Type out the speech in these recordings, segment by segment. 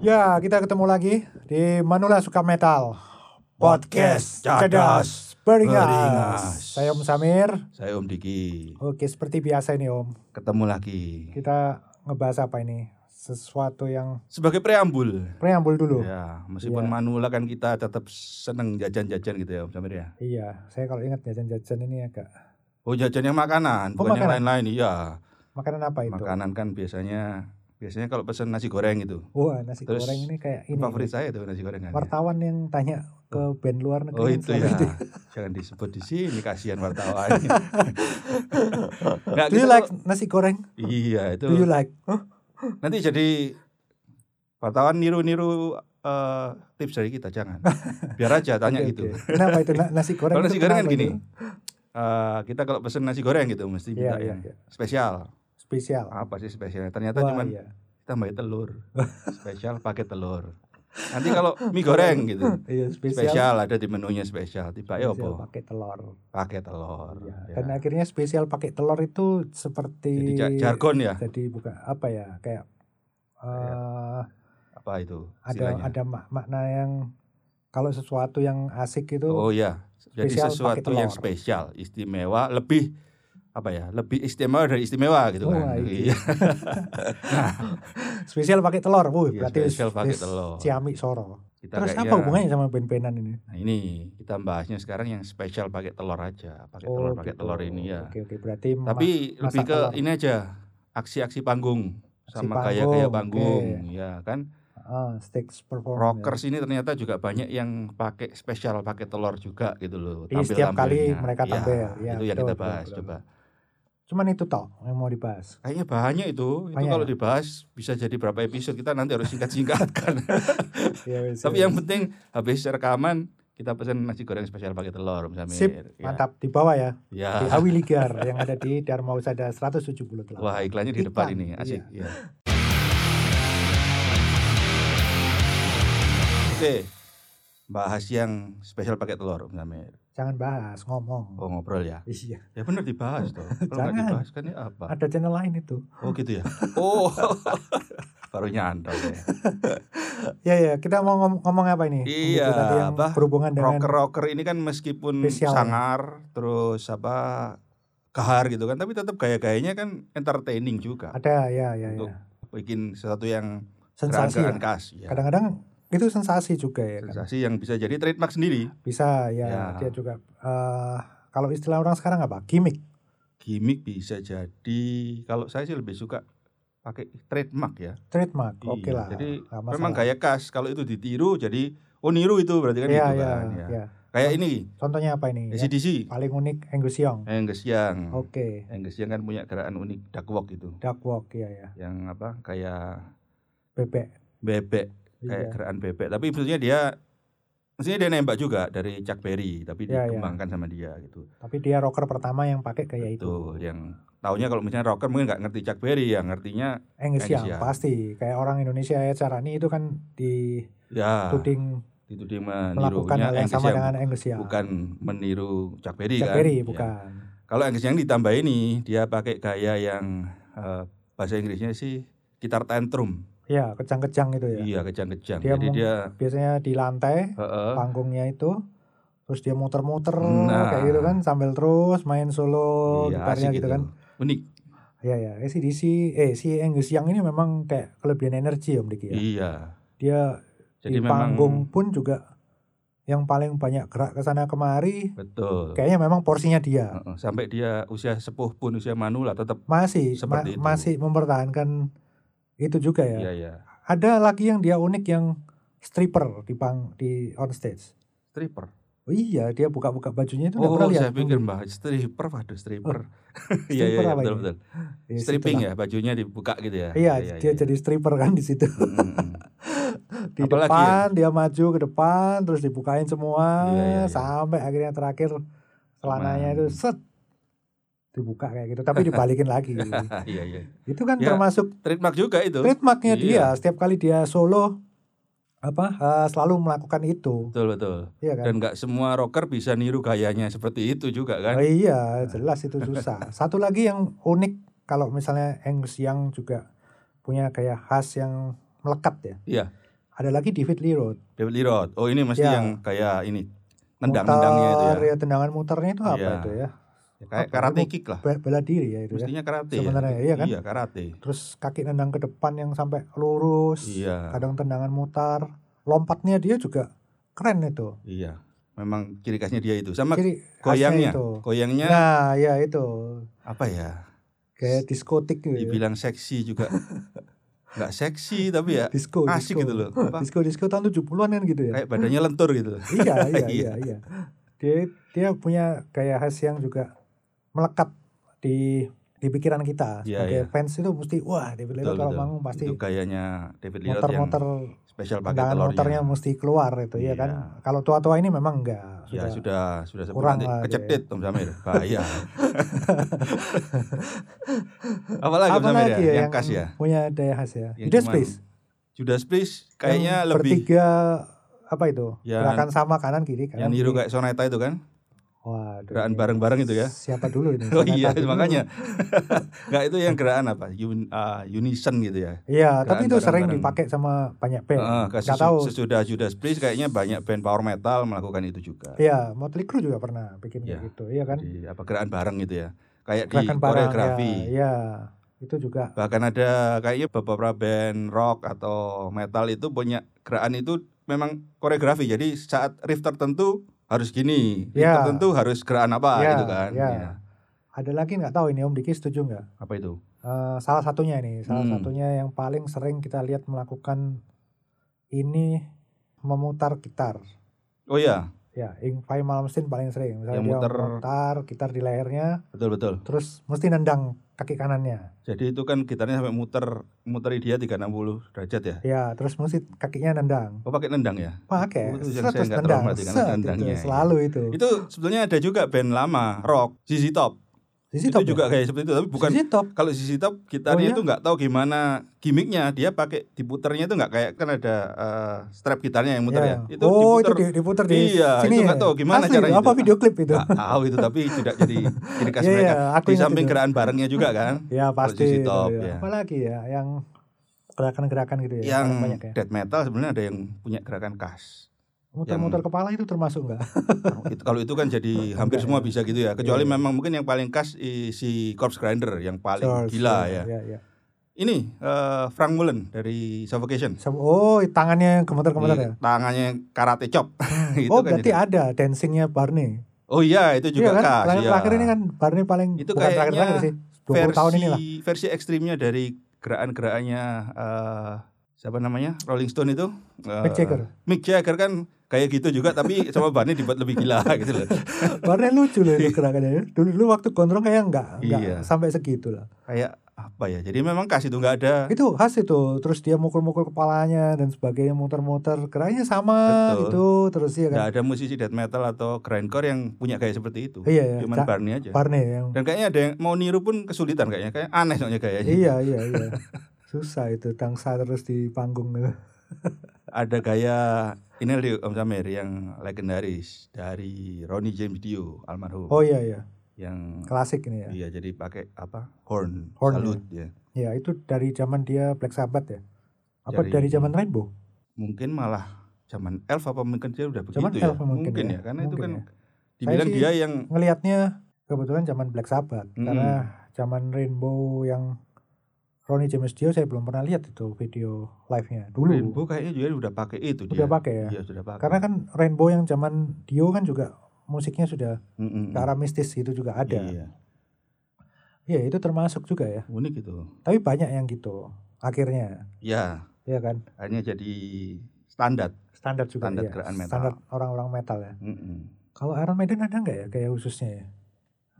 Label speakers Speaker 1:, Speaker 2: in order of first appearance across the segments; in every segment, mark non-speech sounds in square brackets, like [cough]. Speaker 1: Ya, kita ketemu lagi di Manula Suka Metal
Speaker 2: Podcast Cadas
Speaker 1: Beringas.
Speaker 2: Beringas.
Speaker 1: Saya Om Samir.
Speaker 2: Saya Om Diki.
Speaker 1: Oke, seperti biasa ini Om,
Speaker 2: Ketemu lagi.
Speaker 1: kita ngebahas apa ini? Sesuatu yang
Speaker 2: Sebagai preambul.
Speaker 1: preambul dulu.
Speaker 2: Ya, meskipun
Speaker 1: Iya.
Speaker 2: manula kan kita tetap seneng jajan-jajan gitu ya Om Samir ya.
Speaker 1: Iya, saya kalau ingat jajan-jajan ini agak
Speaker 2: Oh jajan yang makanan,
Speaker 1: Oh,
Speaker 2: bukan yang
Speaker 1: makanan.
Speaker 2: lain-lain. Iya,
Speaker 1: makanan apa itu?
Speaker 2: makanan kan biasanya biasanya kalau pesan nasi goreng itu.
Speaker 1: Wah, nasi
Speaker 2: Terus,
Speaker 1: goreng ini kayak ini.
Speaker 2: Favorit saya itu nasi goreng kan. ya.
Speaker 1: Wartawan yang tanya ke band luar negeri.
Speaker 2: Oh
Speaker 1: yang
Speaker 2: itu
Speaker 1: selalu
Speaker 2: ya.
Speaker 1: di-
Speaker 2: [laughs] Jangan disebut di sini kasihan
Speaker 1: [laughs]
Speaker 2: wartawan. Nggak,
Speaker 1: Do you
Speaker 2: Nah, kita
Speaker 1: like
Speaker 2: kalau-
Speaker 1: nasi goreng?
Speaker 2: Iya, itu.
Speaker 1: Do you like? Huh?
Speaker 2: Nanti jadi wartawan niru-niru eh, tips dari kita
Speaker 1: [laughs]
Speaker 2: jangan. Biar aja tanya
Speaker 1: Oke,
Speaker 2: gitu.
Speaker 1: oke. Kenapa itu na- nasi goreng?
Speaker 2: Kalau
Speaker 1: itu
Speaker 2: nasi goreng kan
Speaker 1: kenapa
Speaker 2: gini.
Speaker 1: itu?
Speaker 2: eh, kita kalau pesen nasi goreng gitu mesti
Speaker 1: gitu? Iya,
Speaker 2: minta
Speaker 1: iya,
Speaker 2: yang
Speaker 1: iya.
Speaker 2: spesial.
Speaker 1: Spesial.
Speaker 2: Apa sih spesialnya? Ternyata
Speaker 1: Wah,
Speaker 2: Ah, cuman
Speaker 1: iya.
Speaker 2: tambahin
Speaker 1: [laughs]
Speaker 2: telur. spesial pakai telur. Nanti kalau mie goreng gitu.
Speaker 1: Iya, spesial.
Speaker 2: Spesial ada di menunya spesial. Tiba ya
Speaker 1: Spesial
Speaker 2: apa?
Speaker 1: pakai telur.
Speaker 2: Pakai telur.
Speaker 1: Iya.
Speaker 2: Ya.
Speaker 1: Dan akhirnya spesial pakai telur itu seperti
Speaker 2: Jadi ja- jargon ya.
Speaker 1: Jadi bukan apa ya kayak eh
Speaker 2: Apa itu?
Speaker 1: ada
Speaker 2: istilahnya?
Speaker 1: ada mak- makna yang kalau sesuatu yang asik itu
Speaker 2: Oh ya, jadi
Speaker 1: Spesial pakai
Speaker 2: sesuatu yang
Speaker 1: telur.
Speaker 2: spesial, istimewa, lebih apa ya, lebih istimewa dari istimewa gitu
Speaker 1: Wah,
Speaker 2: kan.
Speaker 1: iya.
Speaker 2: Iya,
Speaker 1: spesial pakai telur. Wuh,
Speaker 2: Iya,
Speaker 1: berarti
Speaker 2: spesial pakai
Speaker 1: wis-
Speaker 2: telur.
Speaker 1: Ciamik Soro.
Speaker 2: Kita
Speaker 1: Terus
Speaker 2: kayak
Speaker 1: apa
Speaker 2: ya,
Speaker 1: hubungannya sama ben-benan ini?
Speaker 2: Nah, ini kita bahasnya sekarang yang spesial pakai telur aja, pakai
Speaker 1: Oh,
Speaker 2: telur, pakai
Speaker 1: gitu.
Speaker 2: telur ini ya.
Speaker 1: Oke, oke, berarti ma-
Speaker 2: Tapi
Speaker 1: masak
Speaker 2: lebih ke
Speaker 1: telur.
Speaker 2: ini aja, aksi-aksi panggung
Speaker 1: Aksi
Speaker 2: sama gaya-gaya
Speaker 1: panggung,
Speaker 2: panggung, ya kan.
Speaker 1: ah, stage performance.
Speaker 2: Rockers ini ternyata juga banyak yang pakai spesial pakai telur juga gitu loh.
Speaker 1: Di Iya, setiap kali
Speaker 2: tampil-tampilnya.
Speaker 1: mereka
Speaker 2: Ya,
Speaker 1: tampil. Ya,
Speaker 2: itu yang
Speaker 1: betul,
Speaker 2: kita
Speaker 1: betul,
Speaker 2: bahas
Speaker 1: betul.
Speaker 2: coba.
Speaker 1: Cuman itu toh yang mau dibahas.
Speaker 2: Kayaknya bahannya itu, itu
Speaker 1: Banyak
Speaker 2: kalau
Speaker 1: ya?
Speaker 2: dibahas bisa jadi berapa episode kita nanti harus singkat-singkatkan.
Speaker 1: [laughs] Ya, wis,
Speaker 2: Tapi
Speaker 1: ya,
Speaker 2: yang
Speaker 1: wis.
Speaker 2: penting habis rekaman kita pesan nasi goreng spesial pakai telur Om Samir.
Speaker 1: Sip,
Speaker 2: Ya.
Speaker 1: mantap di bawah ya.
Speaker 2: [laughs]
Speaker 1: Di
Speaker 2: Ya.
Speaker 1: Hawi Ligar yang ada di Dharma Usada 178.
Speaker 2: Wah, iklannya di depan
Speaker 1: Iklan,
Speaker 2: ini, asik. Ya. Oke. Bahas yang spesial pakai telur Om Samir.
Speaker 1: Jangan bahas, ngomong.
Speaker 2: Oh, ngobrol ya.
Speaker 1: Iya.
Speaker 2: Ya benar dibahas toh. [laughs] Kalau nggak
Speaker 1: Jangan.
Speaker 2: dibahas kan ya apa?
Speaker 1: Ada channel lain itu.
Speaker 2: Oh, gitu [laughs] ya. Oh. Baru nyantol ya.
Speaker 1: Ya ya, kita mau ngom- ngomong apa ini?
Speaker 2: Iya,
Speaker 1: Itu tadi yang
Speaker 2: bah,
Speaker 1: berhubungan dengan
Speaker 2: rocker-rocker ini kan meskipun
Speaker 1: Spesial.
Speaker 2: sangar terus apa kahar gitu kan tapi tetap gaya-gayanya kan entertaining juga
Speaker 1: ada ya ya
Speaker 2: Untuk
Speaker 1: ya.
Speaker 2: bikin sesuatu yang
Speaker 1: Sensasi.
Speaker 2: gerakan-gerakan
Speaker 1: ya.
Speaker 2: khas Iya, ya.
Speaker 1: Kadang-kadang itu sensasi juga ya kan.
Speaker 2: sensasi yang bisa jadi trademark sendiri
Speaker 1: Bisa ya,
Speaker 2: Ya.
Speaker 1: dia juga eh, kalau istilah orang sekarang apa? Gimik.
Speaker 2: gimmick bisa jadi kalau saya sih lebih suka pakai trademark ya
Speaker 1: Trademark.
Speaker 2: Iya,
Speaker 1: Oke lah.
Speaker 2: jadi
Speaker 1: Nggak
Speaker 2: memang
Speaker 1: masalah.
Speaker 2: gaya khas kalau itu ditiru jadi oh niru itu berarti kan
Speaker 1: Iya,
Speaker 2: gitu
Speaker 1: iya,
Speaker 2: kan ya.
Speaker 1: iya.
Speaker 2: kayak ini Hmm.
Speaker 1: Contohnya apa ini? Yang
Speaker 2: ACDC
Speaker 1: paling unik Angus Young.
Speaker 2: Angus Young
Speaker 1: Oke.
Speaker 2: Angus Young kan punya gerakan unik duck walk itu
Speaker 1: Duck walk ya ya.
Speaker 2: yang apa kayak
Speaker 1: Bebek.
Speaker 2: bebek kayak
Speaker 1: Iya.
Speaker 2: gerakan bebek tapi maksudnya dia maksudnya dia nembak juga dari Chuck Berry tapi
Speaker 1: Iya, iya.
Speaker 2: dikembangkan sama dia gitu
Speaker 1: Tapi dia rocker pertama yang pakai kayak iya itu.
Speaker 2: Betul, yang taunya kalau misalnya rocker mungkin nggak ngerti Chuck Berry ya ngertinya
Speaker 1: Angus
Speaker 2: Angus
Speaker 1: Young,
Speaker 2: Young.
Speaker 1: pasti kayak orang Indonesia ya Carani itu kan dituding
Speaker 2: ya itu dia
Speaker 1: melakukan
Speaker 2: menirunya
Speaker 1: hal yang
Speaker 2: Angus
Speaker 1: sama
Speaker 2: Young,
Speaker 1: dengan Angus Young.
Speaker 2: bukan meniru Chuck Berry
Speaker 1: Jack
Speaker 2: kan
Speaker 1: Berry,
Speaker 2: Ya.
Speaker 1: bukan.
Speaker 2: kalau Angus yang ditambah ini dia pakai gaya yang eh, bahasa Inggrisnya sih gitar tantrum
Speaker 1: Ya, kejang-kejang itu ya.
Speaker 2: iya kejang-kejang
Speaker 1: Dia
Speaker 2: jadi
Speaker 1: mung-
Speaker 2: dia
Speaker 1: Biasanya di lantai
Speaker 2: heeh,
Speaker 1: panggungnya itu terus dia muter-muter
Speaker 2: Nah.
Speaker 1: kayak gitu kan sambil terus main solo
Speaker 2: iya,
Speaker 1: gitarnya
Speaker 2: asik
Speaker 1: gitu kan.
Speaker 2: unik
Speaker 1: Ya ya, eh, si DC, eh si Angus Young ini memang kayak kelebihan energi Om Diki ya.
Speaker 2: iya
Speaker 1: Dia di
Speaker 2: jadi memang
Speaker 1: panggung pun juga yang paling banyak gerak ke sana kemari
Speaker 2: betul
Speaker 1: kayaknya memang porsinya dia.
Speaker 2: Heeh, sampai dia usia sepuh pun usia manula tetap
Speaker 1: masih ma-
Speaker 2: Seperti itu.
Speaker 1: masih mempertahankan itu juga ya.
Speaker 2: ya ya
Speaker 1: Ada lagi yang dia unik yang stripper di pang di on stage.
Speaker 2: stripper.
Speaker 1: Oh iya, dia buka-buka bajunya itu nggak
Speaker 2: oh,
Speaker 1: pernah lihat. Oh.
Speaker 2: saya pikir mbak stripper, waduh stripper. [laughs] Iya iya
Speaker 1: stripper
Speaker 2: iya,
Speaker 1: apa
Speaker 2: betul
Speaker 1: ini?
Speaker 2: betul.
Speaker 1: Ya,
Speaker 2: Stripping
Speaker 1: situlah.
Speaker 2: ya, bajunya dibuka gitu ya.
Speaker 1: Iya, dia jadi stripper kan di situ. [laughs]
Speaker 2: Mm, mm, mm.
Speaker 1: Di
Speaker 2: Apalagi ya?
Speaker 1: depan dia maju ke depan terus dibukain semua
Speaker 2: Iya, iya, iya.
Speaker 1: sampai akhirnya terakhir celananya itu
Speaker 2: Cuman-
Speaker 1: set dibuka kayak gitu tapi dibalikin
Speaker 2: [laughs]
Speaker 1: lagi.
Speaker 2: Ah, iya iya.
Speaker 1: Itu kan
Speaker 2: Ya,
Speaker 1: termasuk
Speaker 2: Trademark juga itu.
Speaker 1: trademarknya dia
Speaker 2: Iya.
Speaker 1: setiap kali dia solo apa eh, selalu melakukan itu
Speaker 2: Betul betul.
Speaker 1: iya kan
Speaker 2: Dan nggak semua rocker bisa niru gayanya seperti itu juga
Speaker 1: oh,
Speaker 2: kan.
Speaker 1: iya jelas
Speaker 2: [laughs]
Speaker 1: itu susah satu lagi yang unik kalau misalnya Angus Young juga punya gaya khas yang melekat ya
Speaker 2: Iya.
Speaker 1: Ada lagi David Leroy.
Speaker 2: David Lirot. Oh ini mesti
Speaker 1: Ya.
Speaker 2: yang kayak ini nendang-nendangnya itu ya.
Speaker 1: Mutar, iya, Tendangan mutarnya itu apa
Speaker 2: Iya.
Speaker 1: itu ya?
Speaker 2: Kayak
Speaker 1: Apa?
Speaker 2: karate kick lah.
Speaker 1: Be- Bela diri ya itu ya.
Speaker 2: Mestinya karate
Speaker 1: Sebenarnya,
Speaker 2: ya.
Speaker 1: iya kan?
Speaker 2: Iya karate.
Speaker 1: Terus kaki nendang ke depan yang sampai lurus.
Speaker 2: Iya.
Speaker 1: Kadang tendangan mutar. Lompatnya dia juga keren itu.
Speaker 2: Iya. Memang ciri khasnya dia itu. Sama
Speaker 1: Jadi
Speaker 2: goyangnya.
Speaker 1: khasnya itu.
Speaker 2: Goyangnya
Speaker 1: Nah, ya itu.
Speaker 2: apa ya?
Speaker 1: Kayak diskotik gitu. ya.
Speaker 2: Dibilang seksi
Speaker 1: [laughs]
Speaker 2: juga. Nggak seksi tapi ya
Speaker 1: Disco,
Speaker 2: asik gitu loh. Apa?
Speaker 1: Disco disco tahun 70-an an kan gitu ya.
Speaker 2: Kayak badannya lentur gitu. [laughs]
Speaker 1: iya, iya,
Speaker 2: Iya.
Speaker 1: iya, iya. Dia dia punya gaya khas yang juga melekat di di pikiran kita
Speaker 2: Iya,
Speaker 1: sebagai fans itu mesti wah David Leno
Speaker 2: Betul,
Speaker 1: kalau
Speaker 2: betul.
Speaker 1: manggung pasti
Speaker 2: Itu gayanya David Lirot yang
Speaker 1: motor-motor
Speaker 2: spesial pakai
Speaker 1: kendaraan
Speaker 2: telurnya.
Speaker 1: motornya mesti keluar itu ya kan.
Speaker 2: Iya.
Speaker 1: Kalau tua-tua ini memang enggak
Speaker 2: Ya
Speaker 1: sudah.
Speaker 2: sudah sudah sebut
Speaker 1: Kurang
Speaker 2: nanti
Speaker 1: lah dia. ya.
Speaker 2: kecetit Om Samir.
Speaker 1: [laughs]
Speaker 2: Bahaya. Apalagi Om
Speaker 1: Apa
Speaker 2: Samir
Speaker 1: lagi
Speaker 2: ya?
Speaker 1: ya
Speaker 2: Yang khas ya.
Speaker 1: punya daya khas ya.
Speaker 2: Yang
Speaker 1: Judas
Speaker 2: cuma
Speaker 1: Priest.
Speaker 2: Judas Priest kayaknya
Speaker 1: yang
Speaker 2: lebih
Speaker 1: bertiga apa itu?
Speaker 2: Ya,
Speaker 1: Gerakan sama kanan kiri kanan.
Speaker 2: yang niru
Speaker 1: kiri.
Speaker 2: kayak Sonata itu kan,
Speaker 1: Waduh.
Speaker 2: gerakan
Speaker 1: ini
Speaker 2: bareng-bareng itu ya.
Speaker 1: Siapa dulu ini?
Speaker 2: [laughs] Oh
Speaker 1: Saya
Speaker 2: iya,
Speaker 1: tadi dulu.
Speaker 2: makanya. Enggak itu yang gerakan apa? Un- ah, unison gitu ya.
Speaker 1: Iya, tapi itu
Speaker 2: Gerakan
Speaker 1: sering
Speaker 2: bareng-bareng.
Speaker 1: dipakai sama banyak band.
Speaker 2: Heeh,
Speaker 1: Nggak
Speaker 2: sesu-
Speaker 1: tahu.
Speaker 2: sesudah Judas Priest kayaknya banyak band power metal melakukan itu juga.
Speaker 1: Iya, Motley Crue juga pernah bikin
Speaker 2: Kan? Iya.
Speaker 1: kayak gitu, iya kan?
Speaker 2: Di apa gerakan bareng gitu ya. Kayak
Speaker 1: Gerakan
Speaker 2: di
Speaker 1: barang,
Speaker 2: koreografi.
Speaker 1: ya, Iya, itu juga.
Speaker 2: bahkan ada kayaknya beberapa band rock atau metal itu punya gerakan itu memang koreografi jadi saat riff tertentu harus gini riff
Speaker 1: Ya.
Speaker 2: tertentu harus gerakan apa
Speaker 1: Ya,
Speaker 2: gitu kan
Speaker 1: ya.
Speaker 2: Ya.
Speaker 1: Ada lagi nggak tahu ini Om Diki setuju nggak?
Speaker 2: apa itu
Speaker 1: Eh, salah satunya ini, salah
Speaker 2: Hmm.
Speaker 1: satunya yang paling sering kita lihat melakukan ini memutar gitar.
Speaker 2: oh ya
Speaker 1: Ya, Ingvay Malmsteen paling sering. Misalnya
Speaker 2: Yang
Speaker 1: dia
Speaker 2: muter-
Speaker 1: mutar gitar di lehernya,
Speaker 2: betul betul
Speaker 1: terus mesti nendang kaki kanannya.
Speaker 2: jadi itu kan gitarnya sampai muter muteri dia 360 derajat ya
Speaker 1: Ya, terus mesti kakinya nendang.
Speaker 2: oh pakai nendang ya
Speaker 1: Pakai,
Speaker 2: Oh, itu yang saya
Speaker 1: terus
Speaker 2: nggak
Speaker 1: nendang.
Speaker 2: terlalu
Speaker 1: set,
Speaker 2: perhatikan, ada
Speaker 1: itu,
Speaker 2: nendangnya, ya.
Speaker 1: selalu itu.
Speaker 2: itu sebetulnya ada juga band lama rock ZZ Top
Speaker 1: Sisi
Speaker 2: itu
Speaker 1: top
Speaker 2: juga
Speaker 1: ya?
Speaker 2: kayak seperti itu tapi bukan
Speaker 1: Sisi top.
Speaker 2: kalau ZZ Top gitarnya
Speaker 1: Oh, iya?
Speaker 2: itu nggak tahu gimana gimmicknya dia pakai diputernya itu nggak kayak kan ada eh, strap gitarnya yang muter
Speaker 1: Iya.
Speaker 2: ya itu
Speaker 1: oh
Speaker 2: diputer
Speaker 1: itu di- diputer di
Speaker 2: Iya,
Speaker 1: sini
Speaker 2: itu nggak
Speaker 1: ya?
Speaker 2: tahu gimana
Speaker 1: Asli
Speaker 2: caranya
Speaker 1: itu, apa
Speaker 2: itu.
Speaker 1: video klip itu
Speaker 2: Nggak tahu itu tapi tidak jadi ciri khas
Speaker 1: Iya,
Speaker 2: mereka.
Speaker 1: iya, aku
Speaker 2: Di
Speaker 1: ingat
Speaker 2: samping
Speaker 1: itu.
Speaker 2: gerakan barengnya
Speaker 1: [laughs]
Speaker 2: juga kan.
Speaker 1: ya pasti
Speaker 2: sisi
Speaker 1: itu,
Speaker 2: top,
Speaker 1: ya.
Speaker 2: ya.
Speaker 1: apalagi ya yang gerakan-gerakan gitu ya paling
Speaker 2: yang
Speaker 1: banyak ya
Speaker 2: death metal sebenarnya ada yang punya gerakan khas.
Speaker 1: muter-muter kepala itu termasuk nggak
Speaker 2: Kalau itu- Kalau itu kan jadi
Speaker 1: Enggak,
Speaker 2: hampir semua
Speaker 1: ya.
Speaker 2: bisa gitu ya. Kecuali
Speaker 1: Iya, iya.
Speaker 2: memang mungkin yang paling khas i- si corpse grinder yang paling
Speaker 1: Sure,
Speaker 2: gila
Speaker 1: sure,
Speaker 2: ya.
Speaker 1: ya, ya.
Speaker 2: Ini eh, Frank Mullen dari Suffocation.
Speaker 1: Sam- oh tangannya yang gemeter-gemeter
Speaker 2: Di
Speaker 1: ya
Speaker 2: Tangannya karate chop. [laughs] Itu
Speaker 1: oh
Speaker 2: Iya, kan
Speaker 1: berarti
Speaker 2: jadi-
Speaker 1: ada dancingnya Barney
Speaker 2: Oh iya itu juga
Speaker 1: iya kan
Speaker 2: khas.
Speaker 1: terakhir,
Speaker 2: iya.
Speaker 1: terakhir ini kan Barney paling
Speaker 2: Itu
Speaker 1: bukan terakhir-terakhir
Speaker 2: kayaknya
Speaker 1: sih 20 tahun inilah
Speaker 2: versi ekstrimnya dari gerakan-gerakannya eh, siapa namanya Rolling Stone itu Eh,
Speaker 1: Mick Jagger.
Speaker 2: Mick Jagger kan kayak gitu juga tapi [laughs] sama Barney dibuat lebih gila [laughs] gitu loh
Speaker 1: Barney lucu loh itu gerakannya dulu-dulu waktu gondrong kayak nggak nggak
Speaker 2: Iya.
Speaker 1: sampai segitu lah
Speaker 2: kayak apa ya jadi memang khas itu nggak ada
Speaker 1: itu khas itu terus dia mukul-mukul kepalanya dan sebagainya muter-muter geraknya sama
Speaker 2: Betul.
Speaker 1: gitu terus ya kan
Speaker 2: nggak ada musisi death metal atau grindcore yang punya gaya seperti itu
Speaker 1: iya ya Cak
Speaker 2: cuman Barney aja
Speaker 1: Barney yang
Speaker 2: dan kayaknya ada yang mau niru pun kesulitan kayaknya kayak aneh soalnya gayanya
Speaker 1: iya iya iya susah itu dansa terus di panggung gitu.
Speaker 2: ada gaya ini dari Om Samir yang legendaris dari Ronnie James Dio almarhum
Speaker 1: oh iya iya
Speaker 2: yang
Speaker 1: klasik ini ya
Speaker 2: Iya, jadi pakai apa? Horn,
Speaker 1: Horn,
Speaker 2: salut ya.
Speaker 1: ya itu dari zaman dia Black Sabbath ya apa
Speaker 2: Dari-
Speaker 1: dari zaman Rainbow
Speaker 2: Mungkin malah zaman elf apa mungkin dia udah begitu
Speaker 1: Zaman
Speaker 2: ya?
Speaker 1: elf mungkin
Speaker 2: ya,
Speaker 1: ya,
Speaker 2: karena itu
Speaker 1: mungkin
Speaker 2: kan
Speaker 1: ya. Saya
Speaker 2: dibilang
Speaker 1: sih-
Speaker 2: dia yang
Speaker 1: ngelihatnya kebetulan zaman Black Sabbath
Speaker 2: Mm-mm.
Speaker 1: karena zaman Rainbow yang Ronnie James Dio saya belum pernah lihat itu video live-nya dulu
Speaker 2: Rainbow kayaknya juga udah pakai itu dia.
Speaker 1: udah pakai ya
Speaker 2: Iya, sudah pakai.
Speaker 1: Karena kan Rainbow yang zaman Dio kan juga musiknya sudah
Speaker 2: Mm-mm.
Speaker 1: ke arah ya? mistis itu juga ada.
Speaker 2: Iya.
Speaker 1: Iya, itu termasuk juga ya.
Speaker 2: Unik itu.
Speaker 1: Tapi banyak yang gitu akhirnya,
Speaker 2: Ya,
Speaker 1: ya kan?
Speaker 2: akhirnya jadi standar.
Speaker 1: Standar juga
Speaker 2: Standar
Speaker 1: ya.
Speaker 2: gerakan metal.
Speaker 1: Standar orang-orang metal ya.
Speaker 2: Mm-mm.
Speaker 1: Kalau Iron Maiden ada nggak ya kayak khususnya ya?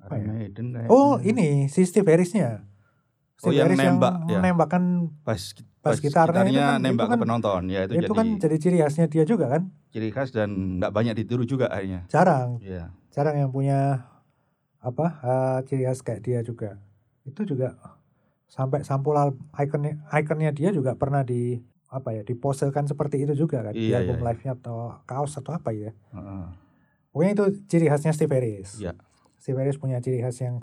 Speaker 1: Apa
Speaker 2: Iron
Speaker 1: ya?
Speaker 2: Maiden kayaknya.
Speaker 1: Oh, ini si Steve Harrisnya.
Speaker 2: Hmm. Oh, yang nembak, ya.
Speaker 1: menembakkan
Speaker 2: Pas,
Speaker 1: Pas gitarnya itu kan- itu
Speaker 2: nembak ke
Speaker 1: kan-
Speaker 2: penonton ya
Speaker 1: itu,
Speaker 2: itu, jadi
Speaker 1: kan jadi ciri khasnya dia juga kan?
Speaker 2: ciri khas dan nggak banyak ditiru juga akhirnya.
Speaker 1: Jarang,
Speaker 2: Iya.
Speaker 1: jarang yang punya apa eh, ciri khas kayak dia juga. Itu juga sampai sampul al- ikonnya ikonnya dia juga pernah di apa ya diposekan seperti itu juga kan di
Speaker 2: Iya,
Speaker 1: album
Speaker 2: iya, iya.
Speaker 1: live-nya atau kaos atau apa ya.
Speaker 2: Heeh.
Speaker 1: Pokoknya itu ciri khasnya Steve Harris.
Speaker 2: Iya.
Speaker 1: Steve Harris punya ciri khas yang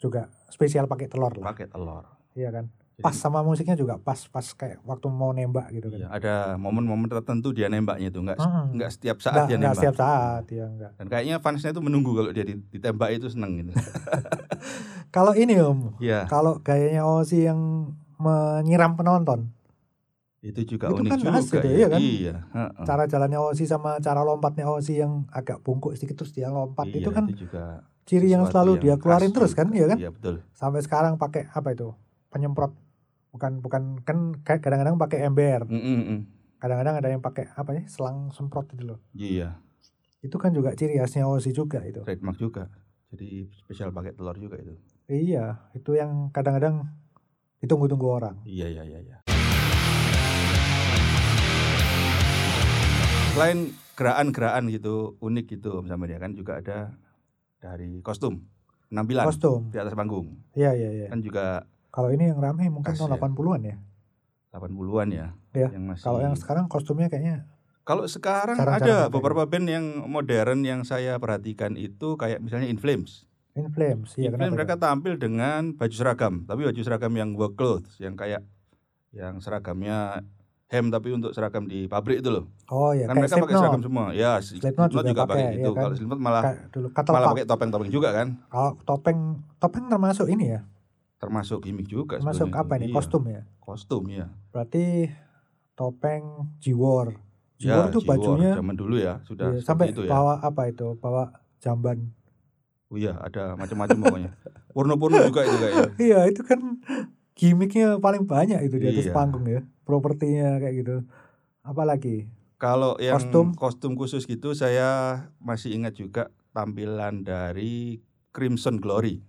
Speaker 1: juga spesial pakai telur lah.
Speaker 2: Pakai telur.
Speaker 1: Iya kan. pas sama musiknya juga pas pas kayak waktu mau nembak gitu kan.
Speaker 2: Iya, ada momen-momen tertentu dia nembaknya itu nggak
Speaker 1: Mm-mm.
Speaker 2: nggak setiap
Speaker 1: Ah.
Speaker 2: saat
Speaker 1: Nggak-
Speaker 2: dia
Speaker 1: nggak
Speaker 2: nembak.
Speaker 1: setiap saat ya enggak.
Speaker 2: Dan kayaknya fansnya itu menunggu kalau dia di- ditembak itu seneng
Speaker 1: [laughs]
Speaker 2: gitu.
Speaker 1: Kalau ini Om,
Speaker 2: Iya,
Speaker 1: kalau gayanya Ozzy yang menyiram penonton,
Speaker 2: itu juga
Speaker 1: Itu
Speaker 2: unik
Speaker 1: kan
Speaker 2: juga.
Speaker 1: asik
Speaker 2: ya.
Speaker 1: ya, kan?
Speaker 2: Iya, heeh.
Speaker 1: cara jalannya Ozzy sama cara lompatnya Ozzy yang agak bungkuk sedikit terus dia lompat
Speaker 2: Iya,
Speaker 1: itu kan
Speaker 2: juga
Speaker 1: ciri yang
Speaker 2: sesuatu
Speaker 1: selalu dia keluarin
Speaker 2: khas
Speaker 1: terus
Speaker 2: juga.
Speaker 1: kan, iya kan?
Speaker 2: Iya betul.
Speaker 1: Sampai sekarang pakai apa itu? Penyemprot bukan bukan kan kayak kadang-kadang pakai ember,
Speaker 2: Mm, mm, mm.
Speaker 1: kadang-kadang ada yang pakai apa ya selang semprot gitu loh.
Speaker 2: Iya,
Speaker 1: Itu kan juga ciri khasnya Ozzy juga itu.
Speaker 2: trademark juga. Jadi spesial pakai telur juga itu.
Speaker 1: Iya, itu yang kadang-kadang ditunggu-tunggu orang.
Speaker 2: Iya iya iya. iya. Selain gerakan-gerakan gitu unik gitu Om Samir ya kan juga ada dari kostum penampilan
Speaker 1: Kostum.
Speaker 2: di atas panggung
Speaker 1: Iya, iya, iya.
Speaker 2: kan juga
Speaker 1: Kalau ini yang rame mungkin
Speaker 2: Khas
Speaker 1: tahun
Speaker 2: ya.
Speaker 1: 80-an ya.
Speaker 2: 80-an ya.
Speaker 1: Iya,
Speaker 2: Yang masih
Speaker 1: Kalau yang sekarang kostumnya kayaknya
Speaker 2: Kalau sekarang
Speaker 1: Jarang-jarang
Speaker 2: ada
Speaker 1: ada
Speaker 2: beberapa band yang modern yang saya perhatikan itu kayak misalnya In Flames.
Speaker 1: In Flames. Iya,
Speaker 2: In
Speaker 1: kenapa?
Speaker 2: Flames mereka
Speaker 1: Kak?
Speaker 2: tampil dengan baju seragam, tapi baju seragam yang work clothes yang kayak yang seragamnya hem tapi untuk seragam di pabrik itu loh.
Speaker 1: Oh, iya,
Speaker 2: kan
Speaker 1: kayak
Speaker 2: mereka pakai
Speaker 1: Slipknot.
Speaker 2: seragam semua. Ya, si-
Speaker 1: Slipknot
Speaker 2: Slipknot juga,
Speaker 1: juga
Speaker 2: pakai
Speaker 1: pakai,
Speaker 2: gitu.
Speaker 1: ya kan?
Speaker 2: Kalau Slipknot malah
Speaker 1: Kayak dulu
Speaker 2: malah
Speaker 1: Cuttlepuff.
Speaker 2: pakai topeng-topeng juga kan,
Speaker 1: Kalau topeng topeng termasuk ini ya?
Speaker 2: termasuk gimmick juga.
Speaker 1: Termasuk
Speaker 2: sebetulnya
Speaker 1: apa
Speaker 2: itu.
Speaker 1: ini?
Speaker 2: Iya,
Speaker 1: Kostum ya.
Speaker 2: Kostum ya.
Speaker 1: Berarti topeng Jiwor. Jiwor
Speaker 2: Ya,
Speaker 1: itu
Speaker 2: G-War,
Speaker 1: bajunya
Speaker 2: zaman dulu ya sudah
Speaker 1: iya,
Speaker 2: seperti
Speaker 1: sampai
Speaker 2: itu ya.
Speaker 1: bawa apa itu? Bawa jamban. [laughs]
Speaker 2: Oh iya, ada macam-macam pokoknya. Porno-porno juga itu ya. kayaknya.
Speaker 1: Iya, itu kan gimmicknya paling banyak itu di atas
Speaker 2: Iya.
Speaker 1: panggung ya. Propertinya kayak gitu. Apalagi
Speaker 2: Kalau yang
Speaker 1: Kostum.
Speaker 2: kostum. khusus gitu saya masih ingat juga tampilan dari Crimson Glory.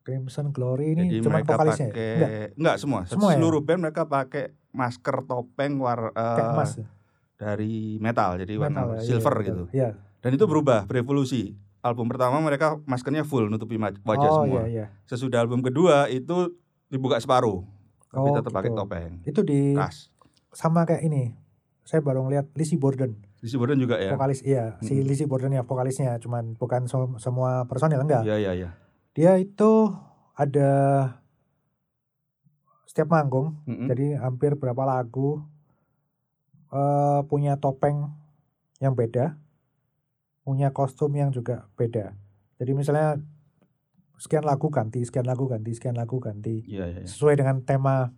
Speaker 1: Crimson Glory ini
Speaker 2: Jadi
Speaker 1: cuma
Speaker 2: mereka
Speaker 1: vokalisnya ya?
Speaker 2: pakai
Speaker 1: Enggak,
Speaker 2: enggak, semua.
Speaker 1: Semua ya?
Speaker 2: Seluruh band mereka pakai masker topeng war
Speaker 1: kayak
Speaker 2: eh,
Speaker 1: emas. ya?
Speaker 2: dari metal jadi
Speaker 1: metal
Speaker 2: warna
Speaker 1: ya,
Speaker 2: silver
Speaker 1: iya,
Speaker 2: gitu.
Speaker 1: betul. Iya.
Speaker 2: Dan itu berubah, berevolusi. Album pertama mereka maskernya full nutupi ma- wajah
Speaker 1: oh, iya
Speaker 2: semua.
Speaker 1: iya.
Speaker 2: Sesudah album kedua itu dibuka separuh, tapi
Speaker 1: Oh,
Speaker 2: tetap pakai Nah.
Speaker 1: gitu.
Speaker 2: topeng.
Speaker 1: Itu di
Speaker 2: Khas.
Speaker 1: sama kayak ini. Saya baru ngeliat Lizzie Borden,
Speaker 2: Di Borden juga ya.
Speaker 1: vokalis iya, si
Speaker 2: Mm-mm.
Speaker 1: Lizzie Borden ya vokalisnya, cuman bukan so- semua personil enggak.
Speaker 2: Iya iya iya.
Speaker 1: Dia itu ada setiap manggung,
Speaker 2: Mm-mm.
Speaker 1: jadi hampir berapa lagu eh punya topeng yang beda, punya kostum yang juga beda. Jadi misalnya sekian lagu ganti, sekian lagu ganti, sekian lagu ganti.
Speaker 2: Iya iya. iya.
Speaker 1: sesuai dengan tema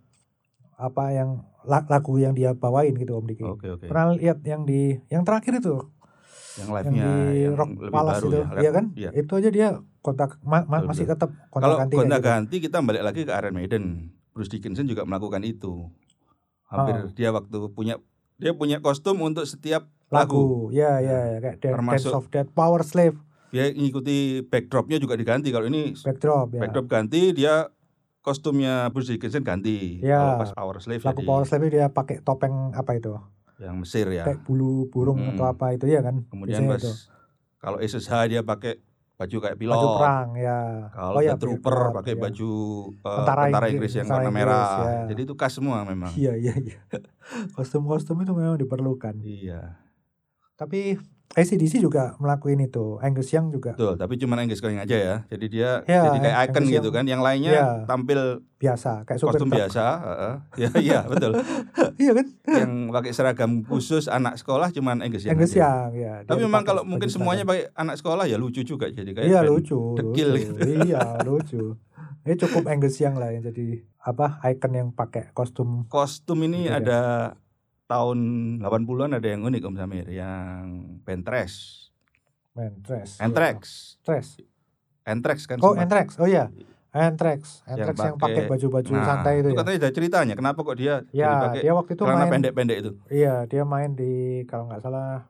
Speaker 1: apa yang la- lagu yang dia bawain gitu Om Diki.
Speaker 2: Oke oke.
Speaker 1: Pernah lihat yang di yang terakhir itu
Speaker 2: Yang
Speaker 1: yang
Speaker 2: live-nya
Speaker 1: di
Speaker 2: yang
Speaker 1: Rock
Speaker 2: lebih
Speaker 1: Palace
Speaker 2: baru
Speaker 1: itu,
Speaker 2: ya.
Speaker 1: iya
Speaker 2: Live-
Speaker 1: kan?
Speaker 2: Iya.
Speaker 1: Itu aja dia kontak ma- ma-
Speaker 2: Betul,
Speaker 1: masih tetap kontak
Speaker 2: Kalau
Speaker 1: ganti kayak
Speaker 2: gonta
Speaker 1: gitu.
Speaker 2: ganti kita balik lagi ke Iron Maiden. Bruce Dickinson juga melakukan itu. Hampir
Speaker 1: Ah.
Speaker 2: dia waktu punya dia punya kostum untuk setiap
Speaker 1: lagu.
Speaker 2: lagu.
Speaker 1: Ya ya ya kayak Dan- Dance
Speaker 2: Iya. Termasuk-
Speaker 1: of Death, Power Slave,
Speaker 2: Dia ngikuti backdropnya juga diganti. Kalau ini
Speaker 1: Backdrop ya.
Speaker 2: backdrop ganti, dia kostumnya Bruce Dickinson ganti.
Speaker 1: Ya.
Speaker 2: Kalau pas Power Slave
Speaker 1: Lagu
Speaker 2: jadi
Speaker 1: Power Slave dia pakai topeng apa itu?
Speaker 2: yang Mesir ya.
Speaker 1: Kayak bulu burung
Speaker 2: Mm-mm.
Speaker 1: atau apa itu ya kan?
Speaker 2: Kemudian
Speaker 1: Biasanya
Speaker 2: pas
Speaker 1: itu.
Speaker 2: kalau SSH dia pakai baju kayak pilot.
Speaker 1: baju perang ya.
Speaker 2: Kalau
Speaker 1: ya,
Speaker 2: The Trooper
Speaker 1: Backdrop,
Speaker 2: pakai
Speaker 1: ya.
Speaker 2: baju eh,
Speaker 1: Tentara
Speaker 2: tentara,
Speaker 1: Inggris,
Speaker 2: Inggris yang
Speaker 1: tentara
Speaker 2: warna
Speaker 1: Inggris,
Speaker 2: merah.
Speaker 1: ya.
Speaker 2: Jadi itu khas semua memang.
Speaker 1: [laughs] Iya iya iya. Kostum-kostum itu memang diperlukan.
Speaker 2: Iya.
Speaker 1: Tapi eh, ACDC juga melakukan itu. Angus Young juga
Speaker 2: Betul, tapi cuma Angus Going aja ya. Jadi dia
Speaker 1: Ya,
Speaker 2: jadi kayak icon
Speaker 1: Angus
Speaker 2: gitu
Speaker 1: yang-
Speaker 2: kan. Yang lainnya
Speaker 1: ya.
Speaker 2: tampil
Speaker 1: biasa, kayak supir
Speaker 2: kostum
Speaker 1: truk.
Speaker 2: biasa, heeh. [laughs] Ya iya, betul.
Speaker 1: [laughs] iya kan?
Speaker 2: yang pakai seragam khusus anak sekolah cuma Angus yang.
Speaker 1: Angus
Speaker 2: aja.
Speaker 1: Young ya. dia
Speaker 2: Tapi memang
Speaker 1: dipakai
Speaker 2: kalau mungkin
Speaker 1: sebagai
Speaker 2: semuanya
Speaker 1: seragam.
Speaker 2: pakai anak sekolah ya lucu juga jadi kayak
Speaker 1: Iya
Speaker 2: band.
Speaker 1: lucu,
Speaker 2: dekil
Speaker 1: lucu.
Speaker 2: gitu.
Speaker 1: Iya lucu. Ini cukup Angus Young lah yang jadi apa icon yang pakai kostum
Speaker 2: Kostum ini
Speaker 1: Beda.
Speaker 2: ada tahun 80-an ada yang unik Om Samir, yang Pentres,
Speaker 1: Anthrax.
Speaker 2: Anthrax,
Speaker 1: Anthrax.
Speaker 2: Anthrax kan
Speaker 1: Iya. Oh
Speaker 2: sempat.
Speaker 1: Anthrax. Oh iya. Anthrax.
Speaker 2: Yang
Speaker 1: Anthrax yang
Speaker 2: pakai-
Speaker 1: pakai baju-baju
Speaker 2: Nah,
Speaker 1: santai itu ya.
Speaker 2: katanya ada ceritanya kenapa kok dia
Speaker 1: Ya,
Speaker 2: jadi pakai
Speaker 1: dia waktu itu
Speaker 2: celana
Speaker 1: main
Speaker 2: pendek-pendek itu.
Speaker 1: Iya, dia main di kalau nggak salah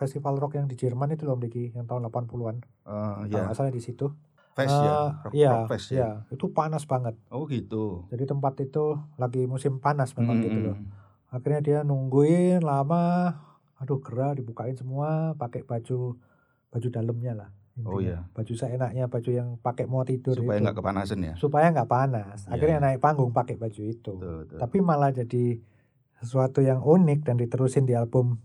Speaker 1: festival rock yang di Jerman itu loh, Om Diki, yang tahun 80-an.
Speaker 2: Eh,
Speaker 1: Kalau
Speaker 2: ya,
Speaker 1: nggak salah di situ.
Speaker 2: face ya,
Speaker 1: Eh,
Speaker 2: rock,
Speaker 1: Ah, iya,
Speaker 2: rock face ya.
Speaker 1: iya. itu panas banget.
Speaker 2: Oh gitu.
Speaker 1: Jadi tempat itu lagi musim panas memang
Speaker 2: Mm,
Speaker 1: gitu
Speaker 2: mm,
Speaker 1: loh.
Speaker 2: mm.
Speaker 1: Akhirnya dia nungguin lama, aduh gerah dibukain semua, pakai baju baju dalamnya lah.
Speaker 2: Oh, iya.
Speaker 1: Baju seenaknya, baju yang pakai mau tidur
Speaker 2: Supaya
Speaker 1: itu.
Speaker 2: nggak kepanasan ya.
Speaker 1: supaya nggak panas.
Speaker 2: Iya,
Speaker 1: Akhirnya
Speaker 2: iya.
Speaker 1: naik panggung pakai baju itu.
Speaker 2: Betul, betul.
Speaker 1: Tapi malah jadi sesuatu yang unik dan diterusin di album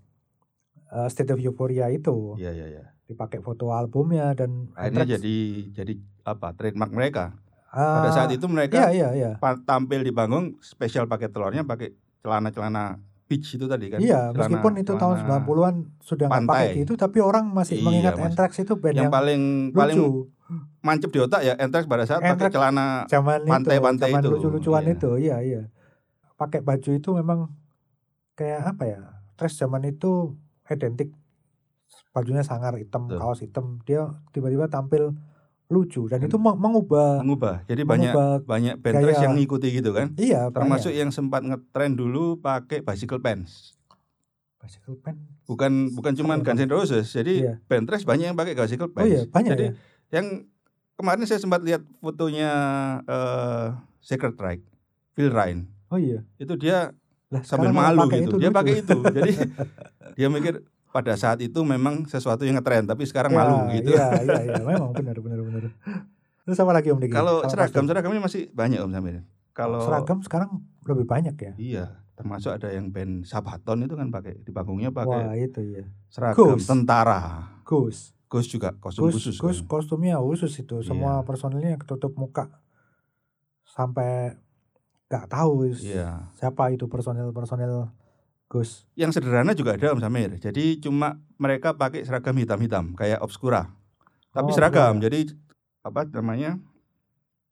Speaker 1: uh, State of Euphoria itu.
Speaker 2: Iya Nah, iya iya.
Speaker 1: Dipakai foto albumnya dan
Speaker 2: Akhirnya
Speaker 1: Anthrax
Speaker 2: jadi jadi apa trademark mereka. Pada saat itu kan mereka
Speaker 1: ah, Iya, iya, iya.
Speaker 2: pa- tampil di panggung spesial pakai telurnya pakai celana-celana beach itu tadi kan.
Speaker 1: Iya,
Speaker 2: Celana-
Speaker 1: meskipun itu tahun
Speaker 2: celana-
Speaker 1: 90-an sudah nggak pakai
Speaker 2: pantai.
Speaker 1: itu, tapi orang masih
Speaker 2: Iya,
Speaker 1: mengingat
Speaker 2: Mas.
Speaker 1: Anthrax itu band
Speaker 2: yang,
Speaker 1: yang,
Speaker 2: paling paling
Speaker 1: lucu.
Speaker 2: mancep di otak ya Anthrax pada saat pakai
Speaker 1: Anthrax.
Speaker 2: celana
Speaker 1: Zaman
Speaker 2: pantai-pantai
Speaker 1: itu, zaman
Speaker 2: itu,
Speaker 1: lucu-lucuan
Speaker 2: iya.
Speaker 1: itu, iya, iya. Pakai baju itu memang kayak apa ya? Trash zaman itu identik bajunya sangar hitam,
Speaker 2: Betul.
Speaker 1: kaos hitam. Dia tiba-tiba tampil lucu dan
Speaker 2: Dan-
Speaker 1: itu meng- mengubah
Speaker 2: mengubah. Jadi banyak
Speaker 1: mengubah
Speaker 2: banyak band trash
Speaker 1: gaya.
Speaker 2: yang ngikuti gitu kan.
Speaker 1: iya
Speaker 2: Termasuk
Speaker 1: banyak.
Speaker 2: yang sempat ngetren dulu pakai bicycle pants.
Speaker 1: bicycle pen.
Speaker 2: Bukan bukan cuma
Speaker 1: Apa
Speaker 2: Guns N' Roses. Jadi
Speaker 1: Iya.
Speaker 2: band trash banyak yang pakai bicycle
Speaker 1: Oh
Speaker 2: pants.
Speaker 1: iya, banyak
Speaker 2: Jadi
Speaker 1: ya.
Speaker 2: yang kemarin saya sempat lihat fotonya eh Secret Right, Phil Ryan.
Speaker 1: Oh iya.
Speaker 2: Itu dia
Speaker 1: Lah,
Speaker 2: sambil
Speaker 1: sekarang malah
Speaker 2: malu
Speaker 1: pakai
Speaker 2: gitu. dia
Speaker 1: lucu.
Speaker 2: pakai itu.
Speaker 1: [laughs]
Speaker 2: Jadi dia mikir pada saat itu memang sesuatu yang ngetren tapi sekarang
Speaker 1: Ya,
Speaker 2: malu gitu.
Speaker 1: Iya, iya, iya, memang benar benar benar. Terus sama lagi Om Diki.
Speaker 2: Kalau
Speaker 1: Kalau
Speaker 2: seragam
Speaker 1: kostum.
Speaker 2: seragamnya masih banyak Om Samir. Kalau
Speaker 1: seragam sekarang lebih banyak ya.
Speaker 2: iya, termasuk ada yang band Sabaton itu kan pakai di panggungnya
Speaker 1: Wah,
Speaker 2: pakai
Speaker 1: itu ya.
Speaker 2: seragam
Speaker 1: Ghost.
Speaker 2: tentara.
Speaker 1: Gus.
Speaker 2: Gus juga kostum
Speaker 1: Gus,
Speaker 2: khusus.
Speaker 1: Gus
Speaker 2: kan?
Speaker 1: kostumnya khusus itu. Semua
Speaker 2: Iya.
Speaker 1: personilnya ketutup muka. Sampai nggak tahu
Speaker 2: Iya.
Speaker 1: siapa itu personil-personil Gus.
Speaker 2: Yang sederhana juga ada Om Samir. Jadi cuma mereka pakai seragam hitam-hitam kayak obskura.
Speaker 1: Oh,
Speaker 2: Tapi seragam.
Speaker 1: Obscura.
Speaker 2: Jadi apa namanya?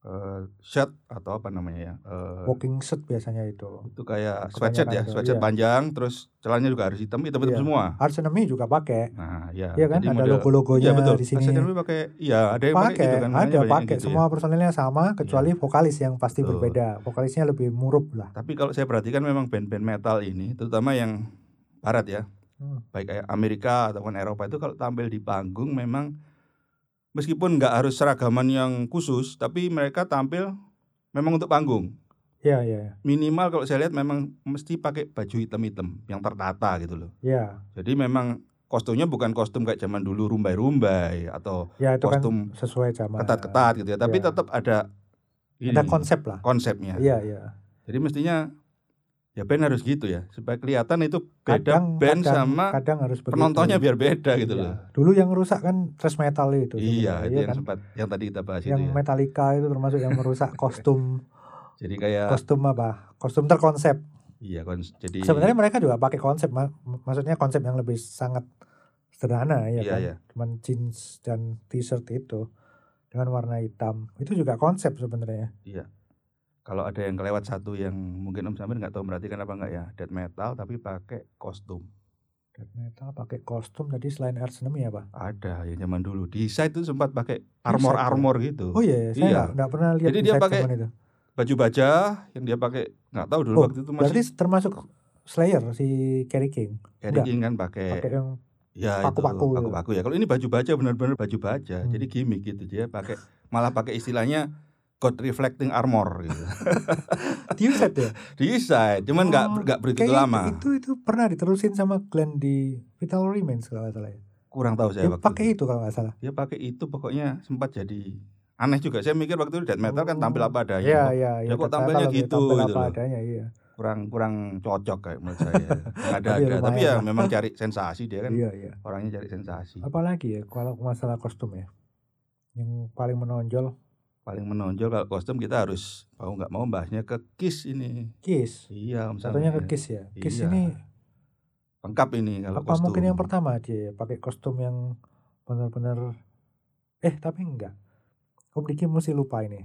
Speaker 2: eh shirt atau apa namanya ya? eh,
Speaker 1: Walking set biasanya itu.
Speaker 2: itu kayak sweatshirt ya,
Speaker 1: itu,
Speaker 2: sweatshirt
Speaker 1: iya.
Speaker 2: panjang terus celananya juga harus hitam, hitam,
Speaker 1: Iya.
Speaker 2: hitam semua.
Speaker 1: Arts Enemy juga pakai.
Speaker 2: Nah, ya.
Speaker 1: Iya kan?
Speaker 2: Jadi
Speaker 1: Ada
Speaker 2: model-
Speaker 1: logo-logonya
Speaker 2: Iya, betul.
Speaker 1: di sini.
Speaker 2: Arsenal dulu pakai iya, ada yang pakai,
Speaker 1: pakai,
Speaker 2: gitu kan. makanya
Speaker 1: ada
Speaker 2: banyak yang
Speaker 1: pakai
Speaker 2: gitu ya.
Speaker 1: semua personilnya sama kecuali vokalis yang pasti
Speaker 2: Betul.
Speaker 1: berbeda vokalisnya lebih murub lah
Speaker 2: Tapi kalau saya perhatikan memang band-band metal ini terutama yang barat ya,
Speaker 1: Hmm.
Speaker 2: baik kayak Amerika ataupun Eropa itu kalau tampil di panggung memang meskipun nggak harus seragaman yang khusus, tapi mereka tampil memang untuk panggung.
Speaker 1: ya ya
Speaker 2: Minimal kalau saya lihat memang mesti pakai baju hitam-hitam yang tertata gitu loh.
Speaker 1: ya
Speaker 2: Jadi memang kostumnya bukan kostum kayak zaman dulu rumbai-rumbai atau
Speaker 1: ya itu
Speaker 2: Kostum
Speaker 1: kan sesuai zaman
Speaker 2: ketat-ketat Iya. gitu ya, tapi
Speaker 1: Iya.
Speaker 2: tetap ada ini,
Speaker 1: ada konsep lah
Speaker 2: konsepnya.
Speaker 1: iya iya
Speaker 2: Jadi mestinya ya band harus gitu ya supaya kelihatan itu beda
Speaker 1: kadang
Speaker 2: band
Speaker 1: kadang,
Speaker 2: sama
Speaker 1: kadang harus begitu.
Speaker 2: penontonnya biar beda gitu
Speaker 1: Iya.
Speaker 2: loh.
Speaker 1: dulu yang rusak kan thrash metal itu
Speaker 2: Iya,
Speaker 1: sebenarnya,
Speaker 2: itu yang
Speaker 1: kan?
Speaker 2: sempat yang tadi kita bahas
Speaker 1: yang
Speaker 2: itu ya.
Speaker 1: Metallica itu termasuk yang
Speaker 2: [laughs]
Speaker 1: merusak kostum
Speaker 2: Jadi kayak
Speaker 1: kostum apa kostum terkonsep
Speaker 2: iya kan jadi
Speaker 1: sebenarnya mereka juga pakai konsep ma- maksudnya konsep yang lebih sangat sederhana ya
Speaker 2: Iya,
Speaker 1: kan
Speaker 2: iya.
Speaker 1: cuman jeans dan t-shirt itu dengan warna hitam itu juga konsep sebenarnya
Speaker 2: kalau ada yang kelewat satu yang mungkin Om Samir nggak tahu perhatikan apa nggak ya death metal tapi pakai kostum
Speaker 1: Death metal pakai kostum tadi selain Arch Enemy ya pak
Speaker 2: ada yang zaman dulu di side itu sempat pakai armor
Speaker 1: ya?
Speaker 2: armor gitu
Speaker 1: oh iya ya, saya
Speaker 2: Iya.
Speaker 1: nggak nggak pernah lihat
Speaker 2: Jadi
Speaker 1: di
Speaker 2: dia
Speaker 1: site
Speaker 2: pakai-
Speaker 1: zaman itu
Speaker 2: baju baja yang dia pakai nggak tahu dulu
Speaker 1: Oh,
Speaker 2: waktu itu masih
Speaker 1: berarti termasuk Slayer si Kerry King enggak.
Speaker 2: carrying kan pakai
Speaker 1: pakai yang [laughs]
Speaker 2: ya
Speaker 1: paku-paku ya.
Speaker 2: itu paku-paku ya kalau ini baju baja benar-benar baju baja
Speaker 1: Hmm.
Speaker 2: jadi gimmick gitu dia pakai malah pakai istilahnya God reflecting armor gitu. [laughs]
Speaker 1: T-shirt ya
Speaker 2: di side, cuman nggak
Speaker 1: Oh,
Speaker 2: nggak begitu
Speaker 1: Kayaknya
Speaker 2: lama.
Speaker 1: itu itu pernah diterusin sama Glenn di Vital Remains kalau nggak salah ya.
Speaker 2: kurang tahu saya
Speaker 1: Dia
Speaker 2: waktu
Speaker 1: pakai
Speaker 2: itu.
Speaker 1: itu kalau nggak salah.
Speaker 2: dia pakai itu pokoknya sempat jadi aneh juga saya mikir waktu itu death metal kan
Speaker 1: Oh.
Speaker 2: tampil apa adanya
Speaker 1: Iya
Speaker 2: Kok
Speaker 1: iya iya.
Speaker 2: kok
Speaker 1: ternyata
Speaker 2: tampilnya
Speaker 1: lebih
Speaker 2: gitu,
Speaker 1: tampil
Speaker 2: gitu
Speaker 1: apa
Speaker 2: loh.
Speaker 1: adanya iya.
Speaker 2: kurang kurang cocok kayak menurut saya ada
Speaker 1: Tapi
Speaker 2: ada
Speaker 1: lumayan
Speaker 2: tapi ya
Speaker 1: lah.
Speaker 2: memang cari sensasi dia kan
Speaker 1: Iya iya.
Speaker 2: orangnya cari sensasi
Speaker 1: Apalagi ya kalau masalah kostum ya. Yang paling menonjol
Speaker 2: paling menonjol kalau kostum kita harus mau nggak mau bahasnya ke kiss ini
Speaker 1: Kiss.
Speaker 2: iya om Sam,
Speaker 1: Satunya
Speaker 2: ya.
Speaker 1: ke Kiss ya. Kiss
Speaker 2: Iya,
Speaker 1: ini
Speaker 2: lengkap ini kalau
Speaker 1: apa
Speaker 2: kostum
Speaker 1: mungkin yang pertama dia ya, pakai kostum yang benar-benar eh tapi enggak. Om Diki mesti lupa ini.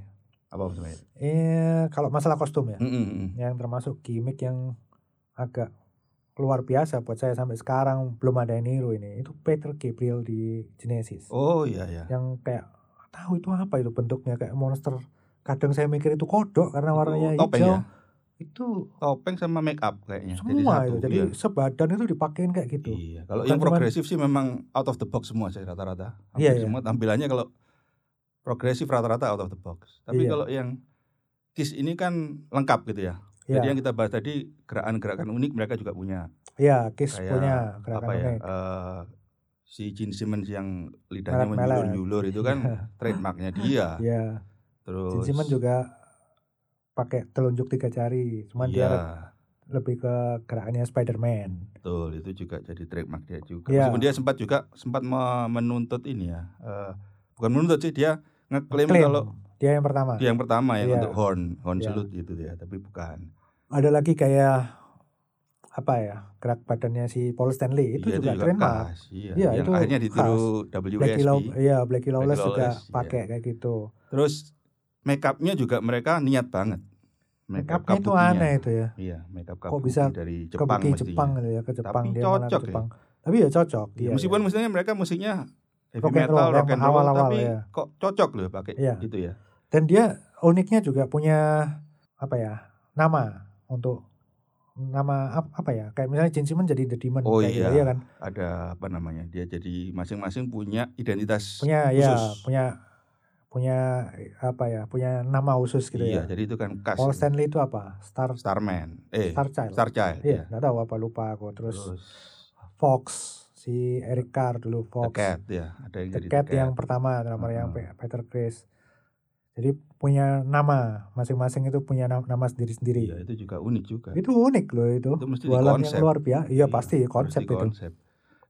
Speaker 2: apa om Sam, ya?
Speaker 1: Eh kalau masalah kostum ya.
Speaker 2: Mm, mm, mm.
Speaker 1: yang termasuk gimmick yang agak luar biasa buat saya sampai sekarang belum ada yang niru ini itu Peter Gabriel di Genesis
Speaker 2: oh iya ya
Speaker 1: yang kayak nggak tahu itu apa itu bentuknya kayak monster kadang saya mikir itu kodok karena warnanya
Speaker 2: Itu topeng
Speaker 1: hijau
Speaker 2: ya
Speaker 1: itu
Speaker 2: topeng sama make up kayaknya
Speaker 1: semua
Speaker 2: jadi
Speaker 1: itu
Speaker 2: satu,
Speaker 1: jadi
Speaker 2: iya.
Speaker 1: sebadan itu dipakein kayak gitu
Speaker 2: Iya, kalau
Speaker 1: Bukan
Speaker 2: yang
Speaker 1: cuman-
Speaker 2: progresif sih memang out of the box semua sih rata-rata. Hampir
Speaker 1: Iya, iya.
Speaker 2: Semua tampilannya kalau progresif rata-rata out of the box. Tapi
Speaker 1: Iya.
Speaker 2: kalau yang kiss ini kan lengkap gitu ya.
Speaker 1: ya
Speaker 2: Jadi yang kita bahas tadi gerakan-gerakan unik mereka juga punya.
Speaker 1: ya Kiss
Speaker 2: kayak
Speaker 1: punya
Speaker 2: Apa
Speaker 1: gerakan
Speaker 2: ya?
Speaker 1: unik
Speaker 2: eh, si Gene Simmons yang lidahnya
Speaker 1: Melet-melet.
Speaker 2: menjulur-julur itu kan trademarknya
Speaker 1: [laughs]
Speaker 2: dia.
Speaker 1: ya Iya. Gene
Speaker 2: Terus
Speaker 1: Simmons juga pakai telunjuk tiga jari cuman
Speaker 2: Iya,
Speaker 1: dia lebih ke gerakannya Spider-Man
Speaker 2: betul itu juga jadi trademark dia juga.
Speaker 1: Iya.
Speaker 2: Meskipun dia sempat juga sempat me- menuntut ini ya. eh, bukan menuntut sih dia ngeklaim
Speaker 1: Klaim.
Speaker 2: kalau
Speaker 1: Dia yang pertama.
Speaker 2: Dia yang pertama yang
Speaker 1: Iya.
Speaker 2: untuk horn, horn
Speaker 1: Iya.
Speaker 2: celut gitu ya, tapi bukan.
Speaker 1: Ada lagi kayak apa ya gerak badannya si Paul Stanley itu
Speaker 2: Iya,
Speaker 1: juga trademark.
Speaker 2: khas, Iya,
Speaker 1: Iya,
Speaker 2: yang
Speaker 1: itu
Speaker 2: akhirnya ditiru
Speaker 1: Blackie Law,
Speaker 2: WSP.
Speaker 1: ya Blackie Lawless
Speaker 2: Blackie
Speaker 1: juga
Speaker 2: Lawless, iya.
Speaker 1: pakai kayak gitu.
Speaker 2: Terus make upnya juga mereka niat banget. Make up
Speaker 1: Makeupnya itu
Speaker 2: kabukinya.
Speaker 1: aneh itu ya.
Speaker 2: Iya, make up
Speaker 1: Kok
Speaker 2: kabuki
Speaker 1: bisa
Speaker 2: dari Jepang
Speaker 1: Kabuki
Speaker 2: mestinya.
Speaker 1: Jepang gitu ya ke Jepang
Speaker 2: Tapi
Speaker 1: dia malah ke
Speaker 2: cocok ya.
Speaker 1: Jepang. Tapi ya cocok.
Speaker 2: Iya,
Speaker 1: Iya,
Speaker 2: meskipun
Speaker 1: iya.
Speaker 2: mestinya mereka musiknya heavy
Speaker 1: Rock and
Speaker 2: metal,
Speaker 1: roll,
Speaker 2: rock
Speaker 1: yang
Speaker 2: and roll,
Speaker 1: awal-awal,
Speaker 2: tapi
Speaker 1: iya.
Speaker 2: kok cocok loh pakai
Speaker 1: Iya.
Speaker 2: itu ya.
Speaker 1: Dan dia uniknya juga punya apa ya nama untuk nama ap- apa ya kayak misalnya Gene Simmons jadi The Demon
Speaker 2: Oh
Speaker 1: kayak gitu,
Speaker 2: iya.
Speaker 1: kan
Speaker 2: Ada apa namanya? Dia jadi masing-masing punya identitas.
Speaker 1: punya ya
Speaker 2: Khusus.
Speaker 1: punya punya apa ya punya nama khusus gitu
Speaker 2: iya,
Speaker 1: ya
Speaker 2: jadi itu kan khas
Speaker 1: Paul Stanley itu apa Star
Speaker 2: Starman. Eh,
Speaker 1: Star Child
Speaker 2: Starchild.
Speaker 1: iya
Speaker 2: ya.
Speaker 1: nggak tahu apa lupa aku terus,
Speaker 2: Terus
Speaker 1: Fox si Eric Carr dulu
Speaker 2: The
Speaker 1: Fox
Speaker 2: Cat ya, ada yang
Speaker 1: The
Speaker 2: jadi
Speaker 1: Cat
Speaker 2: The Cat.
Speaker 1: yang pertama drummer yang Pe-
Speaker 2: Mm-mm.
Speaker 1: Peter Chris jadi punya nama masing-masing itu punya na- nama sendiri-sendiri
Speaker 2: Iya, itu juga unik juga.
Speaker 1: itu unik loh itu,
Speaker 2: Itu mesti
Speaker 1: Jualan
Speaker 2: dikonsep.
Speaker 1: yang luar biasa iya
Speaker 2: Iya,
Speaker 1: pasti konsep
Speaker 2: Pasti
Speaker 1: itu
Speaker 2: konsep.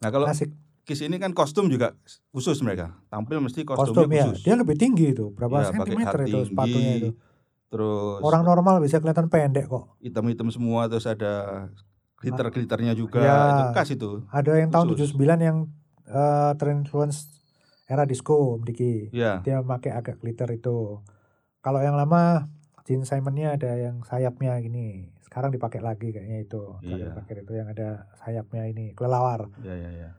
Speaker 2: Nah, kalau
Speaker 1: asik
Speaker 2: Kiss ini kan kostum juga khusus mereka. Tampil mesti kostumnya
Speaker 1: kostum ya
Speaker 2: khusus.
Speaker 1: dia lebih tinggi itu berapa
Speaker 2: Iya, pakai
Speaker 1: sentimeter
Speaker 2: hak
Speaker 1: itu
Speaker 2: tinggi,
Speaker 1: sepatunya itu
Speaker 2: Terus
Speaker 1: orang normal bisa kelihatan pendek kok
Speaker 2: hitam-hitam semua terus ada glitter-glitternya juga.
Speaker 1: Ya.
Speaker 2: Itu khas itu.
Speaker 1: ada yang tahun
Speaker 2: Khusus.
Speaker 1: 79 yang eh, terinfluence era disco Diki
Speaker 2: Iya.
Speaker 1: dia pakai agak glitter itu kalau yang lama Gene Simonnya ada yang sayapnya gini sekarang dipakai lagi kayaknya itu Sekarang
Speaker 2: Iya.
Speaker 1: dipakai itu yang ada sayapnya ini kelelawar
Speaker 2: Iya, iya, iya.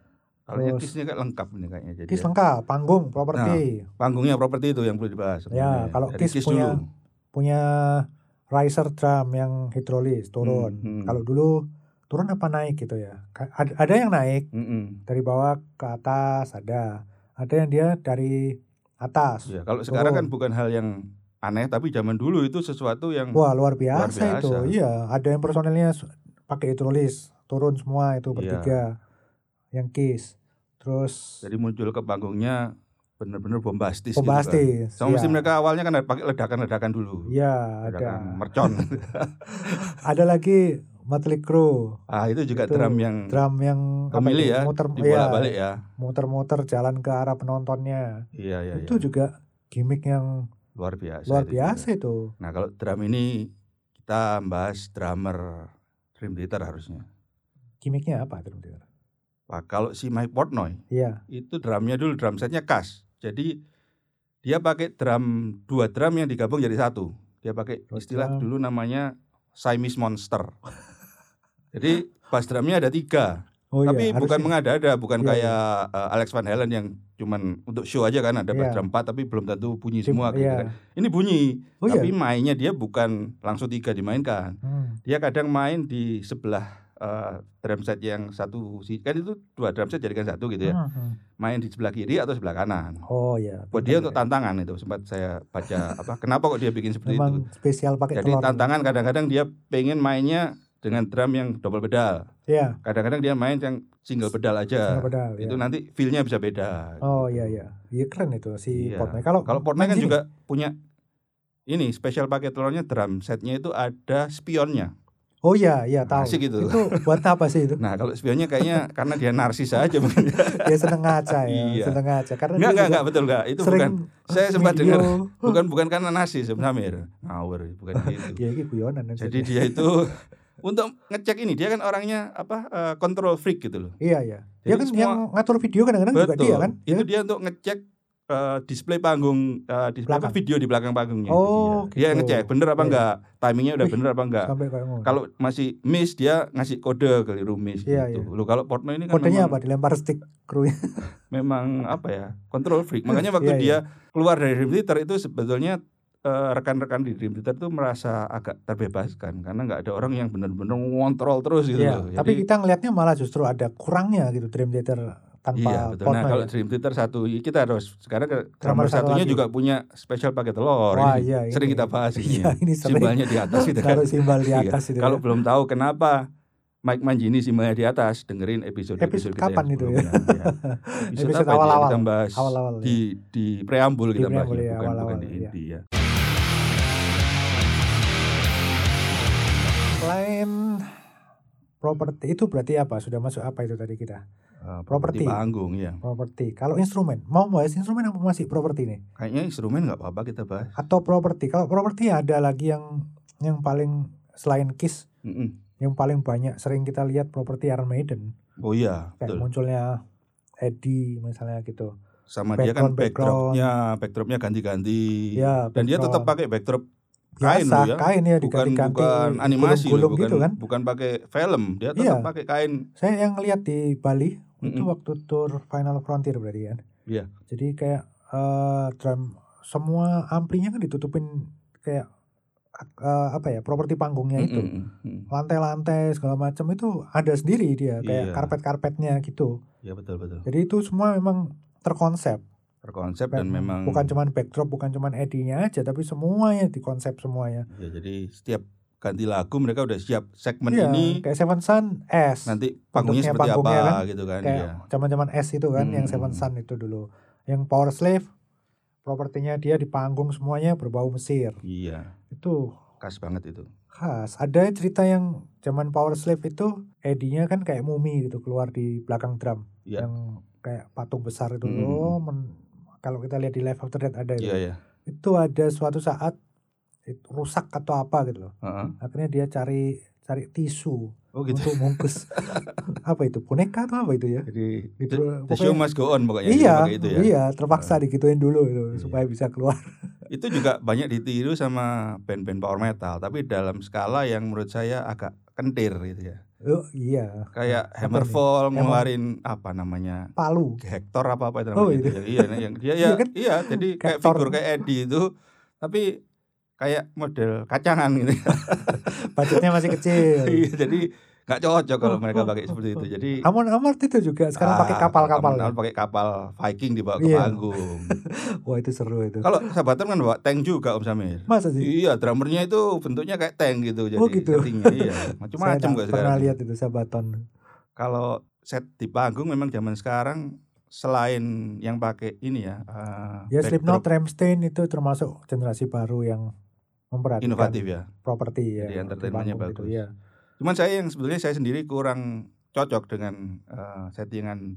Speaker 2: Kalau
Speaker 1: Terus-
Speaker 2: Kiss-nya kayak lengkap ini kayaknya jadi. ya.
Speaker 1: Kiss lengkap panggung properti
Speaker 2: Panggungnya properti itu yang perlu dibahas. sebenarnya.
Speaker 1: Ya, kalau
Speaker 2: Dari
Speaker 1: Kiss punya
Speaker 2: dulu.
Speaker 1: punya riser drum yang hidrolis turun
Speaker 2: Hmm, hmm.
Speaker 1: kalau dulu turun apa naik gitu ya Ka- ad- ada yang naik
Speaker 2: Mm-mm.
Speaker 1: dari bawah ke atas ada ada yang dia dari atas
Speaker 2: Iya, kalau sekarang kan
Speaker 1: Turun.
Speaker 2: bukan hal yang aneh tapi zaman dulu itu sesuatu yang
Speaker 1: wah luar biasa,
Speaker 2: Hmm. Luar biasa.
Speaker 1: itu iya ada yang personelnya su- pakai hidrolis turun semua itu
Speaker 2: Iya.
Speaker 1: bertiga yang kiss terus
Speaker 2: jadi muncul ke panggungnya benar-benar bombastis gitu kan.
Speaker 1: bombastis
Speaker 2: Sama mesti
Speaker 1: iya.
Speaker 2: mereka kan, awalnya kan pakai ledakan-ledakan dulu.
Speaker 1: Iya, ada
Speaker 2: Ledakan
Speaker 1: [laughs]
Speaker 2: mercon.
Speaker 1: ada lagi Motley Crue
Speaker 2: ah, itu juga
Speaker 1: Itu
Speaker 2: drum yang
Speaker 1: drum yang apa
Speaker 2: pemilih
Speaker 1: itu,
Speaker 2: ya,
Speaker 1: muter
Speaker 2: dibolak-balik
Speaker 1: iya,
Speaker 2: ya.
Speaker 1: muter-muter jalan ke arah penontonnya
Speaker 2: Iya, iya,
Speaker 1: itu
Speaker 2: iya.
Speaker 1: juga gimmick yang
Speaker 2: Luar biasa.
Speaker 1: luar
Speaker 2: itu juga.
Speaker 1: biasa itu
Speaker 2: Nah, kalau drum ini kita bahas drummer Dream Theater harusnya.
Speaker 1: gimmicknya apa drum Theater?
Speaker 2: Wah, kalau si Mike Portnoy
Speaker 1: iya
Speaker 2: itu drumnya dulu drum setnya khas. Jadi dia pakai drum dua drum yang digabung jadi satu. Dia pakai
Speaker 1: Dua
Speaker 2: istilah
Speaker 1: drum.
Speaker 2: dulu namanya Siamese Monster. [laughs] jadi bass drumnya ada tiga,
Speaker 1: oh iya,
Speaker 2: tapi bukan
Speaker 1: harusnya.
Speaker 2: mengada-ada, bukan
Speaker 1: Iya,
Speaker 2: kayak eh, Alex Van Halen yang cuman untuk show aja kan ada bass
Speaker 1: Iya.
Speaker 2: drum empat tapi belum tentu bunyi
Speaker 1: Sim-
Speaker 2: semua gitu
Speaker 1: iya.
Speaker 2: kan. Ini bunyi,
Speaker 1: oh iya
Speaker 2: tapi mainnya dia bukan langsung tiga dimainkan.
Speaker 1: Hmm,
Speaker 2: dia kadang main di sebelah eh, drum set yang satu si kan itu dua drum set jadikan satu gitu ya
Speaker 1: hmm, hmm.
Speaker 2: main di sebelah kiri atau sebelah kanan
Speaker 1: oh iya
Speaker 2: buat dia untuk tantangan itu sempat saya baca apa kenapa kok dia bikin seperti itu
Speaker 1: memang spesial pakai
Speaker 2: jadi
Speaker 1: telur
Speaker 2: tantangan kadang-kadang dia pengen mainnya dengan drum yang double pedal
Speaker 1: iya
Speaker 2: kadang-kadang dia main yang single pedal aja
Speaker 1: single pedal,
Speaker 2: itu
Speaker 1: iya.
Speaker 2: nanti feelnya bisa beda
Speaker 1: oh
Speaker 2: gitu.
Speaker 1: iya iya iya keren itu si
Speaker 2: Iya.
Speaker 1: Portnoy kalau
Speaker 2: kalau Portnoy kan
Speaker 1: Mancini,
Speaker 2: juga punya ini spesial pakai telurnya drum setnya itu ada spionnya
Speaker 1: oh iya iya tahu
Speaker 2: Asik itu.
Speaker 1: itu buat apa sih
Speaker 2: [laughs]
Speaker 1: itu
Speaker 2: Nah kalau spionnya kayaknya
Speaker 1: [laughs]
Speaker 2: karena dia narsis aja mungkin.
Speaker 1: dia seneng ngaca ya
Speaker 2: Iya.
Speaker 1: seneng ngaca karena
Speaker 2: Enggak
Speaker 1: dia
Speaker 2: enggak
Speaker 1: juga
Speaker 2: enggak betul enggak. Itu
Speaker 1: sering
Speaker 2: bukan saya sempat
Speaker 1: video.
Speaker 2: dengar
Speaker 1: [laughs]
Speaker 2: bukan bukan karena narsis sebenarnya ngawur bukan gitu.
Speaker 1: ya ini guyonan dan
Speaker 2: Jadi
Speaker 1: sebagainya.
Speaker 2: dia
Speaker 1: [laughs]
Speaker 2: itu untuk ngecek ini dia kan orangnya apa eh, control freak gitu loh.
Speaker 1: iya iya dia
Speaker 2: Jadi
Speaker 1: kan
Speaker 2: semua-
Speaker 1: yang ngatur video kadang-kadang juga dia kan Dia
Speaker 2: Itu dia untuk ngecek eh, display panggung eh, display apa,
Speaker 1: Belakang.
Speaker 2: video di belakang panggungnya. itu
Speaker 1: Oh,
Speaker 2: dia. dia
Speaker 1: gitu.
Speaker 2: ngecek bener apa
Speaker 1: Iya.
Speaker 2: enggak, timingnya udah
Speaker 1: Wih,
Speaker 2: bener apa enggak.
Speaker 1: sampai kayak ngono.
Speaker 2: Kalau masih miss dia ngasih kode keliru miss
Speaker 1: Iya,
Speaker 2: gitu.
Speaker 1: iya.
Speaker 2: Loh kalau Portnoy ini kan
Speaker 1: kodenya
Speaker 2: memang-
Speaker 1: apa dilempar stick ya? krunya
Speaker 2: memang apa ya kontrol
Speaker 1: [laughs]
Speaker 2: freak makanya waktu
Speaker 1: Iya,
Speaker 2: dia keluar dari Dream Theater itu sebetulnya eh, rekan-rekan di Dream Theater itu merasa agak terbebaskan karena nggak ada orang yang benar-benar ngontrol terus gitu
Speaker 1: Iya,
Speaker 2: loh Jadi,
Speaker 1: tapi kita ngelihatnya malah justru ada kurangnya gitu Dream Theater tanpa
Speaker 2: iya betul nah
Speaker 1: Portnoy
Speaker 2: kalau
Speaker 1: ya.
Speaker 2: Dream Theater satu kita harus sekarang ke
Speaker 1: Drummer
Speaker 2: drummer
Speaker 1: satu
Speaker 2: satunya
Speaker 1: lagi.
Speaker 2: juga punya spesial pakai telur
Speaker 1: Wah,
Speaker 2: Ini
Speaker 1: iya,
Speaker 2: sering
Speaker 1: ini.
Speaker 2: kita bahas ini
Speaker 1: [laughs] [laughs] Iya,
Speaker 2: [laughs]
Speaker 1: ini sering.
Speaker 2: simbalnya di atas gitu kan
Speaker 1: taruh simbal di
Speaker 2: Iya.
Speaker 1: atas itu
Speaker 2: kalau
Speaker 1: ya.
Speaker 2: belum tahu kenapa Mike Manjini simbalnya di atas dengerin episode
Speaker 1: Episode
Speaker 2: episode, kita
Speaker 1: kapan
Speaker 2: yang
Speaker 1: itu ya?
Speaker 2: sebelumnya, ya. episode,
Speaker 1: Episode
Speaker 2: apa itu ya?
Speaker 1: awal-awal.
Speaker 2: kita bahas
Speaker 1: awal-awal ya.
Speaker 2: di di preambul
Speaker 1: Di
Speaker 2: kita bahas
Speaker 1: preambul,
Speaker 2: ya,
Speaker 1: ya,
Speaker 2: bukan
Speaker 1: awal-awal,
Speaker 2: bukan di
Speaker 1: iya.
Speaker 2: inti ya.
Speaker 1: Selain properti itu berarti apa? Sudah masuk apa itu tadi kita?
Speaker 2: Eh,
Speaker 1: Properti.
Speaker 2: panggung ya.
Speaker 1: Properti. Kalau instrumen, mau bahas instrumen apa masih properti nih?
Speaker 2: Kayaknya instrumen nggak apa-apa kita bahas.
Speaker 1: Atau properti? Kalau properti ya ada lagi yang yang paling selain Kiss,
Speaker 2: Mm-mm.
Speaker 1: yang paling banyak sering kita lihat properti Iron Maiden,
Speaker 2: Oh iya,
Speaker 1: kayak
Speaker 2: betul.
Speaker 1: munculnya Eddie misalnya gitu.
Speaker 2: Sama dia kan
Speaker 1: background,
Speaker 2: backdropnya, backdropnya ganti-ganti.
Speaker 1: Ya,
Speaker 2: Dan dia
Speaker 1: background.
Speaker 2: tetap pakai backdrop kain
Speaker 1: biasa,
Speaker 2: loh ya.
Speaker 1: kain ya
Speaker 2: bukan
Speaker 1: diganti-ganti,
Speaker 2: bukan animasi loh,
Speaker 1: gulung-gulung
Speaker 2: bukan
Speaker 1: gitu kan.
Speaker 2: bukan pakai film, dia tetap
Speaker 1: Iya.
Speaker 2: pakai kain.
Speaker 1: Saya yang lihat di Bali itu
Speaker 2: Mm-mm.
Speaker 1: waktu tour Final Frontier berarti kan.
Speaker 2: Iya.
Speaker 1: Jadi kayak eh, drum semua amplinya kan ditutupin kayak eh, apa ya properti panggungnya itu.
Speaker 2: Mm-mm, mm-mm.
Speaker 1: Lantai-lantai segala macam itu ada sendiri dia kayak
Speaker 2: Iya.
Speaker 1: karpet-karpetnya gitu.
Speaker 2: Iya betul betul.
Speaker 1: Jadi itu semua memang terkonsep.
Speaker 2: Terkonsep dan memang
Speaker 1: bukan cuman backdrop, bukan cuman edinya aja tapi semuanya dikonsep semuanya.
Speaker 2: ya, jadi setiap ganti lagu mereka udah siap segmen
Speaker 1: Iya,
Speaker 2: ini
Speaker 1: kayak Seven Sun S.
Speaker 2: nanti
Speaker 1: bentuknya
Speaker 2: panggungnya seperti
Speaker 1: panggungnya
Speaker 2: apa
Speaker 1: kan,
Speaker 2: gitu kan
Speaker 1: kayak
Speaker 2: ya.
Speaker 1: zaman-zaman S itu kan yang Seven
Speaker 2: Hmm.
Speaker 1: Sun itu dulu yang Power Slave propertinya dia di panggung semuanya berbau Mesir
Speaker 2: Iya,
Speaker 1: itu
Speaker 2: khas banget itu.
Speaker 1: khas ada cerita yang zaman Power Slave itu Edinya kan kayak mumi gitu keluar di belakang drum
Speaker 2: Iya.
Speaker 1: yang kayak patung besar itu
Speaker 2: Hmm.
Speaker 1: Oh, men- kalau kita lihat di Live After Death ada itu
Speaker 2: Iya ya.
Speaker 1: itu ada suatu saat itu rusak atau apa gitu loh
Speaker 2: Heeh.
Speaker 1: akhirnya dia cari cari tisu
Speaker 2: Oh gitu. [laughs]
Speaker 1: untuk bungkus apa itu boneka atau apa itu ya
Speaker 2: Jadi
Speaker 1: gitu
Speaker 2: the, the
Speaker 1: pokoknya-
Speaker 2: show must go on pokoknya
Speaker 1: iya,
Speaker 2: dia pakai itu ya.
Speaker 1: iya, terpaksa digituin dulu itu
Speaker 2: Iya.
Speaker 1: supaya bisa keluar.
Speaker 2: Itu juga banyak ditiru sama band-band power metal, tapi dalam skala yang menurut saya agak kentir gitu ya.
Speaker 1: Oh, iya,
Speaker 2: Kayak
Speaker 1: Apa
Speaker 2: Hammerfall ngeluarin apa namanya
Speaker 1: Palu.
Speaker 2: Hector apa apa itu namanya
Speaker 1: Oh,
Speaker 2: itu. ya. Iya, yang dia ya,
Speaker 1: Iya kan?
Speaker 2: iya, jadi kayak
Speaker 1: Hector.
Speaker 2: figur kayak Eddie itu tapi kayak model kacangan gitu.
Speaker 1: Budgetnya
Speaker 2: [laughs]
Speaker 1: masih kecil.
Speaker 2: Iya, jadi nggak cocok kalau mereka pakai seperti itu. Jadi
Speaker 1: Amon Amart itu juga Oh. sekarang pakai
Speaker 2: ah,
Speaker 1: kapal-kapal. ya?
Speaker 2: kapan-kapan pakai kapal Viking dibawa ke
Speaker 1: Iya. [laughs]
Speaker 2: panggung.
Speaker 1: Wah, itu seru itu.
Speaker 2: kalau sahabatan kan bawa tank juga Om Samir.
Speaker 1: Masa sih?
Speaker 2: Iya, drummernya itu bentuknya kayak tank gitu jadi
Speaker 1: Oh, gitu.
Speaker 2: settingnya, iya,
Speaker 1: Saya
Speaker 2: macam-macam
Speaker 1: nggak
Speaker 2: kok
Speaker 1: pernah
Speaker 2: sekarang.
Speaker 1: lihat itu Ya, Sabaton.
Speaker 2: Kalau set di panggung memang zaman sekarang selain yang pakai ini ya, eh,
Speaker 1: Ya
Speaker 2: backdrop
Speaker 1: Slipknot, Rammstein itu termasuk generasi baru yang memperhatikan
Speaker 2: inovatif ya.
Speaker 1: properti ya.
Speaker 2: Jadi entertainment-nya
Speaker 1: di panggung
Speaker 2: bagus.
Speaker 1: Gitu, ya.
Speaker 2: Cuman saya yang sebetulnya saya sendiri kurang cocok dengan eh, settingan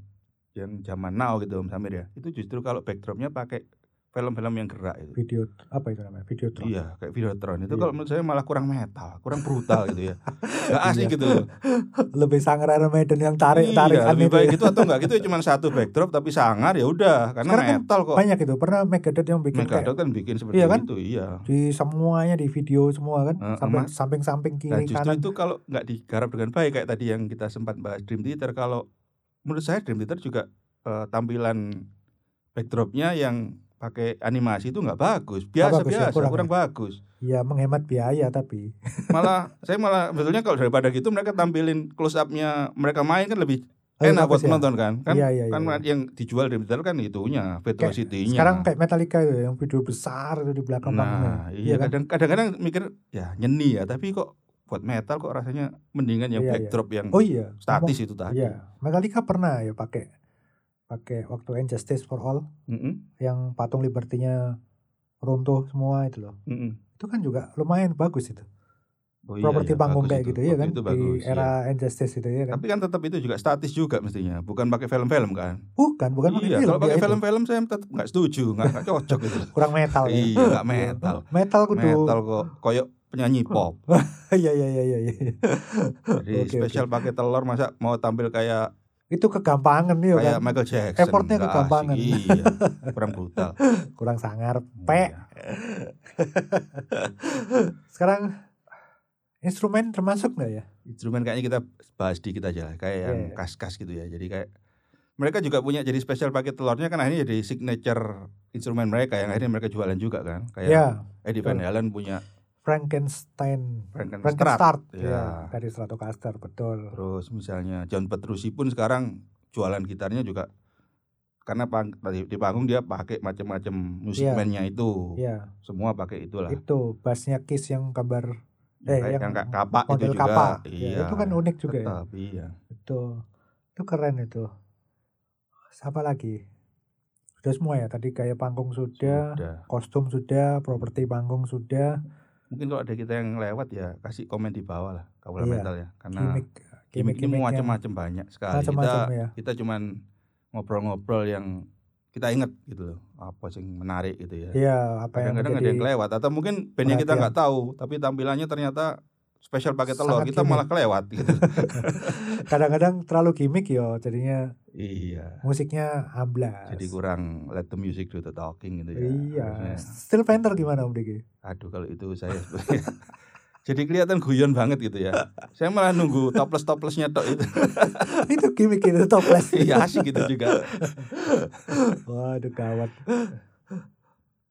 Speaker 2: yang zaman now gitu Om Samir ya. Itu justru kalau backdropnya pakai film-film yang gerak itu.
Speaker 1: Video apa itu namanya? Video
Speaker 2: Iya, kayak Videotron itu
Speaker 1: Iya.
Speaker 2: kalau menurut saya malah kurang metal, kurang
Speaker 1: [laughs]
Speaker 2: brutal gitu ya. Gak asik
Speaker 1: Iya.
Speaker 2: gitu loh.
Speaker 1: [laughs] Lebih sangar Iron Maiden yang tarik-tarik
Speaker 2: iya, lebih
Speaker 1: ya.
Speaker 2: baik gitu atau enggak gitu cuman satu backdrop tapi sangar ya udah karena
Speaker 1: Sekarang kan
Speaker 2: metal kok.
Speaker 1: [laughs] Banyak itu. Pernah Megadeth yang bikin kayak
Speaker 2: Megadot kan bikin seperti
Speaker 1: Iya kan?
Speaker 2: itu, iya.
Speaker 1: di semuanya di video semua kan
Speaker 2: Heeh,
Speaker 1: sampai
Speaker 2: Mas.
Speaker 1: samping-samping
Speaker 2: Dan
Speaker 1: kiri
Speaker 2: Nah, justru
Speaker 1: kanan
Speaker 2: itu kalau nggak digarap dengan baik kayak tadi yang kita sempat bahas Dream Theater kalau menurut saya Dream Theater juga eh, tampilan backdropnya yang pakai animasi itu nggak bagus biasa
Speaker 1: bagus ya,
Speaker 2: biasa
Speaker 1: kurang
Speaker 2: kurang, bagus
Speaker 1: ya menghemat biaya tapi [laughs]
Speaker 2: malah saya malah sebetulnya kalau daripada gitu mereka tampilin close upnya mereka main kan lebih
Speaker 1: Lebih
Speaker 2: enak buat
Speaker 1: bagus ya?
Speaker 2: penonton kan kan
Speaker 1: Iya, iya, iya,
Speaker 2: kan
Speaker 1: iya.
Speaker 2: yang dijual Dream Theater kan itunya virtuosity-nya
Speaker 1: sekarang kayak Metallica itu yang video besar itu di belakang bangunan
Speaker 2: Nah, iya
Speaker 1: kan?
Speaker 2: kadang- kadang-kadang mikir ya nyeni ya, tapi kok buat metal kok rasanya mendingan yang
Speaker 1: Iya, iya.
Speaker 2: backdrop yang
Speaker 1: oh iya
Speaker 2: statis itu tadi.
Speaker 1: ya Metallica pernah ya pakai pakai waktu Injustice for All
Speaker 2: Mm-mm,
Speaker 1: yang patung Liberty-nya runtuh semua itu loh
Speaker 2: mm-mm.
Speaker 1: itu kan juga lumayan bagus itu
Speaker 2: Oh, iya,
Speaker 1: properti
Speaker 2: iya,
Speaker 1: panggung
Speaker 2: bagus
Speaker 1: kayak
Speaker 2: itu.
Speaker 1: gitu ya
Speaker 2: Waktu
Speaker 1: kan
Speaker 2: itu
Speaker 1: di
Speaker 2: bagus, iya.
Speaker 1: era Injustice itu ya kan
Speaker 2: Tapi kan tetap itu juga statis juga mestinya, bukan pakai film-film kan?
Speaker 1: bukan bukan pakai
Speaker 2: iya,
Speaker 1: film
Speaker 2: kalau pakai
Speaker 1: ya itu.
Speaker 2: film-film saya tetap nggak setuju, nggak nggak cocok gitu.
Speaker 1: kurang metal ya
Speaker 2: iya, nggak metal.
Speaker 1: metal kudu
Speaker 2: Metal kok koyok penyanyi pop.
Speaker 1: [laughs] iya iya iya iya iya.
Speaker 2: Jadi
Speaker 1: Oke,
Speaker 2: spesial pakai telur masa mau tampil kayak
Speaker 1: itu kegampangan ya
Speaker 2: kayak
Speaker 1: kan
Speaker 2: Michael Jackson.
Speaker 1: Effortnya
Speaker 2: nggak asik.
Speaker 1: kegampangan.
Speaker 2: Iya, kurang brutal.
Speaker 1: kurang sangar
Speaker 2: Hmm.
Speaker 1: pe sekarang instrumen termasuk nggak ya
Speaker 2: instrumen kayaknya kita bahas dikit aja lah kayak yang
Speaker 1: Iya.
Speaker 2: kas-kas gitu ya jadi kayak mereka juga punya jadi spesial pakai telurnya kan akhirnya jadi signature instrumen mereka yang akhirnya mereka jualan juga kan kayak
Speaker 1: ya
Speaker 2: Eddie Van Halen punya
Speaker 1: Frankenstein
Speaker 2: Frankenstein
Speaker 1: Frankenstart
Speaker 2: Iya.
Speaker 1: ya dari Stratocaster betul
Speaker 2: terus misalnya John Petrucci pun sekarang jualan gitarnya juga karena pang- tadi di panggung dia pakai macam-macam musik
Speaker 1: Iya.
Speaker 2: bandnya itu
Speaker 1: ya
Speaker 2: semua pakai itulah
Speaker 1: itu bassnya Kiss yang gambar eh,
Speaker 2: kayak
Speaker 1: yang
Speaker 2: yang kayak kapak itu
Speaker 1: model
Speaker 2: juga
Speaker 1: kapak
Speaker 2: iya
Speaker 1: ya, itu kan unik juga ya
Speaker 2: tetap iya
Speaker 1: itu itu keren itu apa lagi sudah semua ya tadi kayak panggung sudah,
Speaker 2: Udah.
Speaker 1: kostum sudah properti panggung sudah
Speaker 2: Nah, mungkin kalau ada kita yang lewat ya kasih komen di bawah lah kaula
Speaker 1: Iya.
Speaker 2: metal ya karena
Speaker 1: gimmick
Speaker 2: gimmick ini
Speaker 1: Gimmick-gimmicknya.
Speaker 2: macam-macam banyak sekali.
Speaker 1: macam-macam ya.
Speaker 2: kita, kita cuman ngobrol-ngobrol yang kita inget gitu loh. Apa sih yang menarik gitu ya.
Speaker 1: Iya, apa yang
Speaker 2: Kadang-kadang ada
Speaker 1: menjadi
Speaker 2: yang kelewat atau mungkin band yang kita
Speaker 1: perhatian.
Speaker 2: nggak tahu tapi tampilannya ternyata spesial pakai telur
Speaker 1: Sangat
Speaker 2: kita
Speaker 1: gimmick.
Speaker 2: malah kelewat
Speaker 1: [laughs]
Speaker 2: gitu.
Speaker 1: kadang-kadang terlalu gimmick yo, jadinya
Speaker 2: iya.
Speaker 1: musiknya amblas.
Speaker 2: Jadi kurang let the music do the talking gitu ya.
Speaker 1: Iya.
Speaker 2: harusnya.
Speaker 1: Still Panther gimana Om Diki? [laughs]
Speaker 2: Aduh kalau itu saya sebenarnya- [laughs] Jadi kelihatan guyon banget gitu ya. Saya malah nunggu topless toplessnya tok itu.
Speaker 1: itu gimmick itu toples.
Speaker 2: [laughs] Iya asik gitu juga.
Speaker 1: Waduh gawat.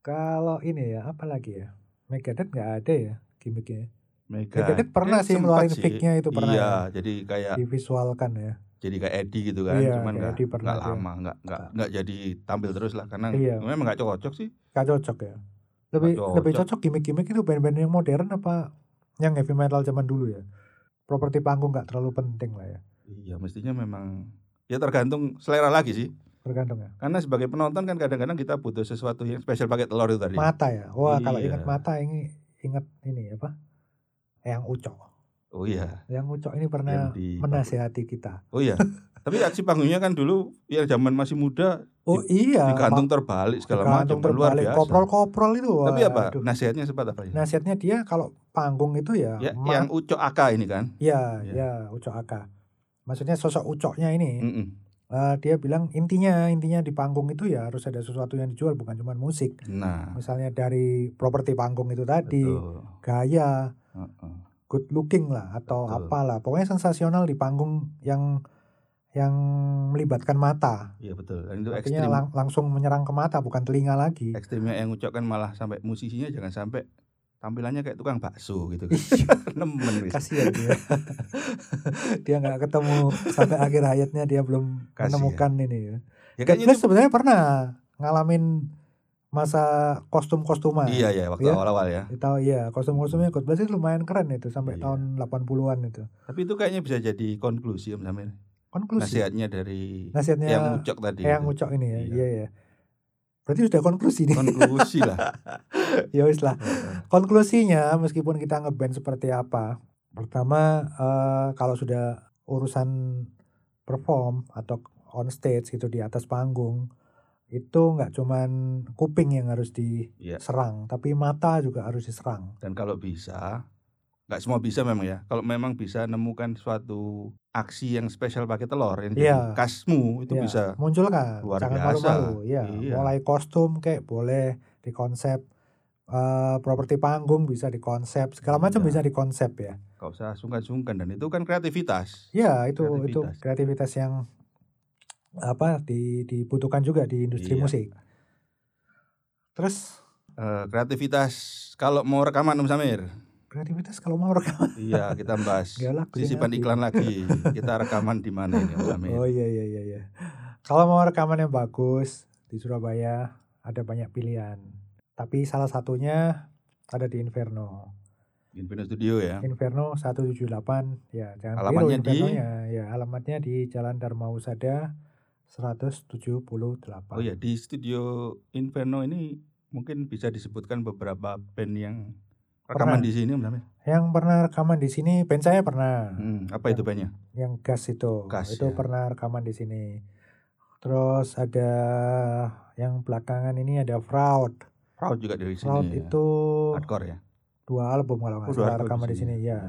Speaker 1: Kalau ini ya, apa lagi ya? Megadeth nggak ada ya gimmicknya.
Speaker 2: Mega.
Speaker 1: Megadeth Ya, pernah
Speaker 2: Eh,
Speaker 1: sih
Speaker 2: sempat
Speaker 1: ngeluarin
Speaker 2: sih.
Speaker 1: pick-nya itu pernah
Speaker 2: Iya,
Speaker 1: ya,
Speaker 2: jadi kayak
Speaker 1: divisualkan ya.
Speaker 2: jadi kayak Eddie gitu kan,
Speaker 1: Iya,
Speaker 2: cuman
Speaker 1: kayak
Speaker 2: nggak
Speaker 1: Eddie pernah
Speaker 2: nggak
Speaker 1: dia.
Speaker 2: lama, nggak nggak nggak jadi tampil terus lah karena
Speaker 1: Iya.
Speaker 2: memang nggak cocok sih.
Speaker 1: Gak cocok ya. Lebih
Speaker 2: Nggak
Speaker 1: lebih
Speaker 2: cocok.
Speaker 1: cocok gimmick-gimmick itu band-band yang modern apa yang heavy metal zaman dulu ya. Properti panggung nggak terlalu penting lah ya.
Speaker 2: Iya, mestinya memang ya tergantung selera lagi sih.
Speaker 1: Tergantung ya.
Speaker 2: Karena sebagai penonton kan kadang-kadang kita butuh sesuatu yang spesial pakai telur itu tadi.
Speaker 1: Mata ya. Wah, kalau
Speaker 2: Iya.
Speaker 1: ingat mata ini ingat ini apa? Yang ucok.
Speaker 2: Oh iya,
Speaker 1: Yang ucok ini pernah
Speaker 2: Yang di-
Speaker 1: menasehati kita.
Speaker 2: oh iya. Tapi aksi panggungnya kan dulu ya zaman masih muda
Speaker 1: Oh iya.
Speaker 2: digantung terbalik segala macam
Speaker 1: Digantung
Speaker 2: kan luar
Speaker 1: terbalik.
Speaker 2: biasa.
Speaker 1: Koprol-koprol itu.
Speaker 2: Tapi apa
Speaker 1: waduh. Nah,
Speaker 2: nasihatnya sempat apa ya?
Speaker 1: Nasihatnya dia kalau panggung itu ya,
Speaker 2: ya
Speaker 1: ma-
Speaker 2: yang ucok aka ini kan.
Speaker 1: ya,
Speaker 2: Iya.
Speaker 1: ya, ucok aka. Maksudnya sosok ucoknya ini,
Speaker 2: Mm-mm.
Speaker 1: eh, dia bilang intinya intinya di panggung itu ya harus ada sesuatu yang dijual bukan cuma musik.
Speaker 2: Nah,
Speaker 1: Misalnya dari properti panggung itu tadi,
Speaker 2: betul.
Speaker 1: gaya,
Speaker 2: Heeh.
Speaker 1: good looking lah atau
Speaker 2: Betul.
Speaker 1: apalah, pokoknya sensasional di panggung yang yang melibatkan mata.
Speaker 2: Iya betul. Dan itu ekstrim.
Speaker 1: Artinya lang- langsung menyerang ke mata bukan telinga lagi.
Speaker 2: Ekstrimnya yang ngucapkan malah sampai musisinya jangan sampai tampilannya kayak tukang bakso gitu kan.
Speaker 1: Iya.
Speaker 2: [laughs] Nemen wis.
Speaker 1: kasihan
Speaker 2: [laughs]
Speaker 1: dia dia nggak ketemu sampai akhir hayatnya dia belum
Speaker 2: Kasihan.
Speaker 1: menemukan ini ya
Speaker 2: Ya
Speaker 1: God
Speaker 2: kayaknya
Speaker 1: Bless
Speaker 2: itu,
Speaker 1: sebenarnya pernah ngalamin masa kostum kostuman
Speaker 2: iya ya waktu
Speaker 1: Iya.
Speaker 2: awal-awal ya.
Speaker 1: tahu iya kostum kostumnya God Bless itu lumayan keren itu sampai
Speaker 2: Iya.
Speaker 1: tahun 80-an itu
Speaker 2: Tapi itu kayaknya bisa jadi konklusi Om Samir.
Speaker 1: konklusi
Speaker 2: Nasihatnya dari
Speaker 1: nasihatnya
Speaker 2: yang ngucok tadi.
Speaker 1: yang
Speaker 2: itu.
Speaker 1: ucok ini ya
Speaker 2: Iya.
Speaker 1: iya iya berarti sudah konklusi nih
Speaker 2: [laughs] Konklusi lah.
Speaker 1: [laughs] ya wis
Speaker 2: Iya,
Speaker 1: lah konklusinya meskipun kita ngeband seperti apa pertama eh, kalau sudah urusan perform atau on stage gitu di atas panggung itu nggak cuman kuping yang harus
Speaker 2: Iya.
Speaker 1: diserang tapi mata juga harus diserang
Speaker 2: Dan kalau bisa nggak semua bisa memang ya. Kalau memang bisa nemukan suatu aksi yang spesial pakai telur yang jadi
Speaker 1: Iya.
Speaker 2: khasmu itu
Speaker 1: Ya,
Speaker 2: bisa.
Speaker 1: munculkan
Speaker 2: Luar
Speaker 1: jangan
Speaker 2: biasa.
Speaker 1: malu-malu ya
Speaker 2: Iya.
Speaker 1: mulai kostum kayak boleh di konsep eh properti panggung bisa di konsep segala macam
Speaker 2: Iya.
Speaker 1: bisa di konsep ya
Speaker 2: Gak usah sungkan-sungkan dan itu kan kreativitas.
Speaker 1: Ya itu itu
Speaker 2: Kreativitas.
Speaker 1: kreativitas yang apa di, dibutuhkan juga di industri
Speaker 2: Iya.
Speaker 1: musik. Terus
Speaker 2: Eh, kreativitas kalau mau rekaman Om Samir.
Speaker 1: kreativitas kalau mau rekaman
Speaker 2: Iya, kita bahas
Speaker 1: Nggak laku ini
Speaker 2: sisipan
Speaker 1: lagi.
Speaker 2: iklan
Speaker 1: [laughs]
Speaker 2: lagi. Kita rekaman di mana ini, Om Samir?
Speaker 1: Oh iya iya iya iya. Kalau mau rekaman yang bagus di Surabaya ada banyak pilihan. Tapi salah satunya ada di Inferno.
Speaker 2: Infinite Studio ya.
Speaker 1: Inferno 178 ya jangan
Speaker 2: Alamatnya di-
Speaker 1: Inferno-nya. ya alamatnya di Jalan Dharma Usada 178.
Speaker 2: Oh ya, di studio Inferno ini mungkin bisa disebutkan beberapa band yang
Speaker 1: Pernah.
Speaker 2: rekaman di sini, Om Samir.
Speaker 1: Yang pernah rekaman di sini band saya pernah.
Speaker 2: Hmm, apa itu bandnya?
Speaker 1: yang gas itu
Speaker 2: Gas,
Speaker 1: itu
Speaker 2: ya.
Speaker 1: pernah rekaman di sini terus ada yang belakangan ini ada fraud
Speaker 2: Proud juga dari sini.
Speaker 1: fraud
Speaker 2: ya.
Speaker 1: itu
Speaker 2: hardcore ya.
Speaker 1: dua album kalau nggak
Speaker 2: Oh,
Speaker 1: salah
Speaker 2: hardcore
Speaker 1: rekaman di sini
Speaker 2: Hmm.
Speaker 1: ya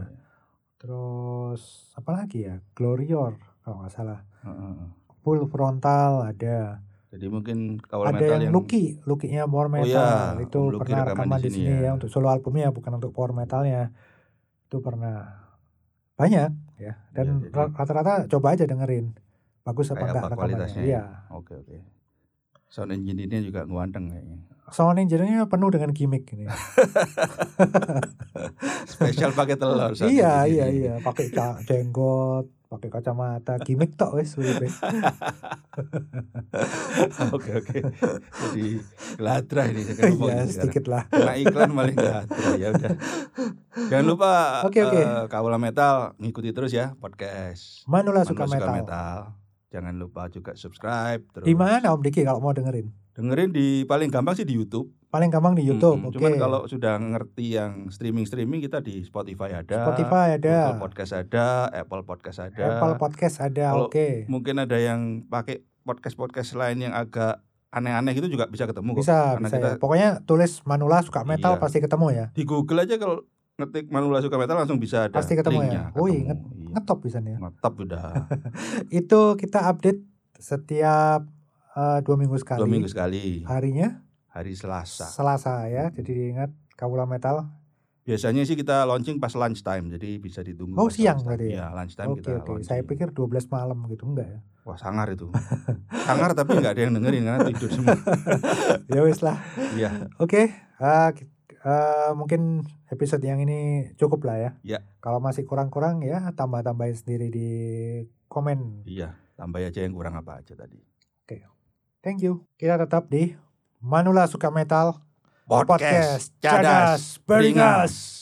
Speaker 1: terus apa lagi ya glorior kalau nggak salah
Speaker 2: Heeh.
Speaker 1: full frontal ada
Speaker 2: Jadi mungkin kawal
Speaker 1: ada
Speaker 2: metal
Speaker 1: yang, Lucky Lucky-nya power metal
Speaker 2: ya,
Speaker 1: itu
Speaker 2: Om Lucky
Speaker 1: pernah rekaman di sini ya. untuk solo albumnya bukan untuk power metalnya itu pernah banyak ya dan
Speaker 2: Ya, jadi-
Speaker 1: rata-rata coba aja dengerin bagus apa
Speaker 2: Kayak
Speaker 1: enggak
Speaker 2: apa
Speaker 1: rekamannya
Speaker 2: kualitasnya ya?
Speaker 1: iya
Speaker 2: Oke, oke. Sound engineer-nya juga nguanteng kayaknya.
Speaker 1: sound engineer-nya penuh dengan gimmick
Speaker 2: [laughs]
Speaker 1: ini
Speaker 2: Spesial pakai telur. sound gitu.
Speaker 1: iya iya
Speaker 2: engineer.
Speaker 1: iya pakai ca- jenggot pakai kacamata gimmick tok wes
Speaker 2: [laughs]
Speaker 1: uripe.
Speaker 2: Oke oke. Jadi gelatra ini saya
Speaker 1: iya
Speaker 2: ngomong ini sekarang.
Speaker 1: sedikit lah
Speaker 2: Kena iklan malah gelatra ya udah. Jangan lupa
Speaker 1: Oke, oke.
Speaker 2: eh, Kawula Metal ngikuti terus ya podcast.
Speaker 1: Manula
Speaker 2: Manula
Speaker 1: suka
Speaker 2: Suka
Speaker 1: metal,
Speaker 2: Jangan lupa juga subscribe terus.
Speaker 1: di mana Om Diki kalau mau dengerin
Speaker 2: Dengerin di paling gampang sih di YouTube.
Speaker 1: Paling gampang di YouTube.
Speaker 2: Mm-mm.
Speaker 1: Oke.
Speaker 2: Cuman kalau sudah ngerti yang streaming-streaming kita di Spotify ada,
Speaker 1: Spotify
Speaker 2: Google
Speaker 1: ada,
Speaker 2: Podcast ada, Apple Podcast ada.
Speaker 1: Apple Podcast ada.
Speaker 2: Kalau-
Speaker 1: Oke.
Speaker 2: Mungkin ada yang pakai podcast-podcast lain yang agak aneh-aneh gitu juga bisa ketemu kok.
Speaker 1: Bisa,
Speaker 2: Karena
Speaker 1: bisa ya.
Speaker 2: kita-
Speaker 1: Pokoknya tulis Manula suka metal
Speaker 2: Iya.
Speaker 1: pasti ketemu ya.
Speaker 2: Di Google aja kalau ngetik Manula Suka Metal langsung bisa ada
Speaker 1: Pasti ketemu ya?
Speaker 2: linknya.
Speaker 1: Oh, iya,
Speaker 2: ketemu. Iya.
Speaker 1: Ngetop bisa nih ya.
Speaker 2: Ngetop
Speaker 1: [laughs]
Speaker 2: udah Iya.
Speaker 1: Itu kita update setiap eh, dua minggu sekali.
Speaker 2: dua minggu sekali
Speaker 1: Harinya
Speaker 2: hari Selasa.
Speaker 1: Selasa ya.
Speaker 2: Mhm.
Speaker 1: Jadi diingat Kawula Metal.
Speaker 2: Biasanya sih kita launching pas lunch time, jadi bisa ditunggu.
Speaker 1: Oh,
Speaker 2: pas
Speaker 1: siang
Speaker 2: lunchtime.
Speaker 1: berarti ya?
Speaker 2: Iya, lunch time
Speaker 1: Oke
Speaker 2: kita
Speaker 1: oke.
Speaker 2: launching.
Speaker 1: Saya pikir 12 malam gitu enggak ya.
Speaker 2: Wah sangar itu Sangar tapi nggak ada yang dengerin karena tidur
Speaker 1: [laughs]
Speaker 2: semua
Speaker 1: ya wis lah. [laughs]
Speaker 2: Iya
Speaker 1: Oke. eh, ki- eh, mungkin episode yang ini cukup lah ya.
Speaker 2: Ya.
Speaker 1: Kalau masih kurang-kurang ya tambah-tambahin sendiri di komen.
Speaker 2: Iya Tambah aja yang kurang apa aja tadi
Speaker 1: Thank you. Kita tetap di Manula Suka Metal Podcast, Cadas, Beringas.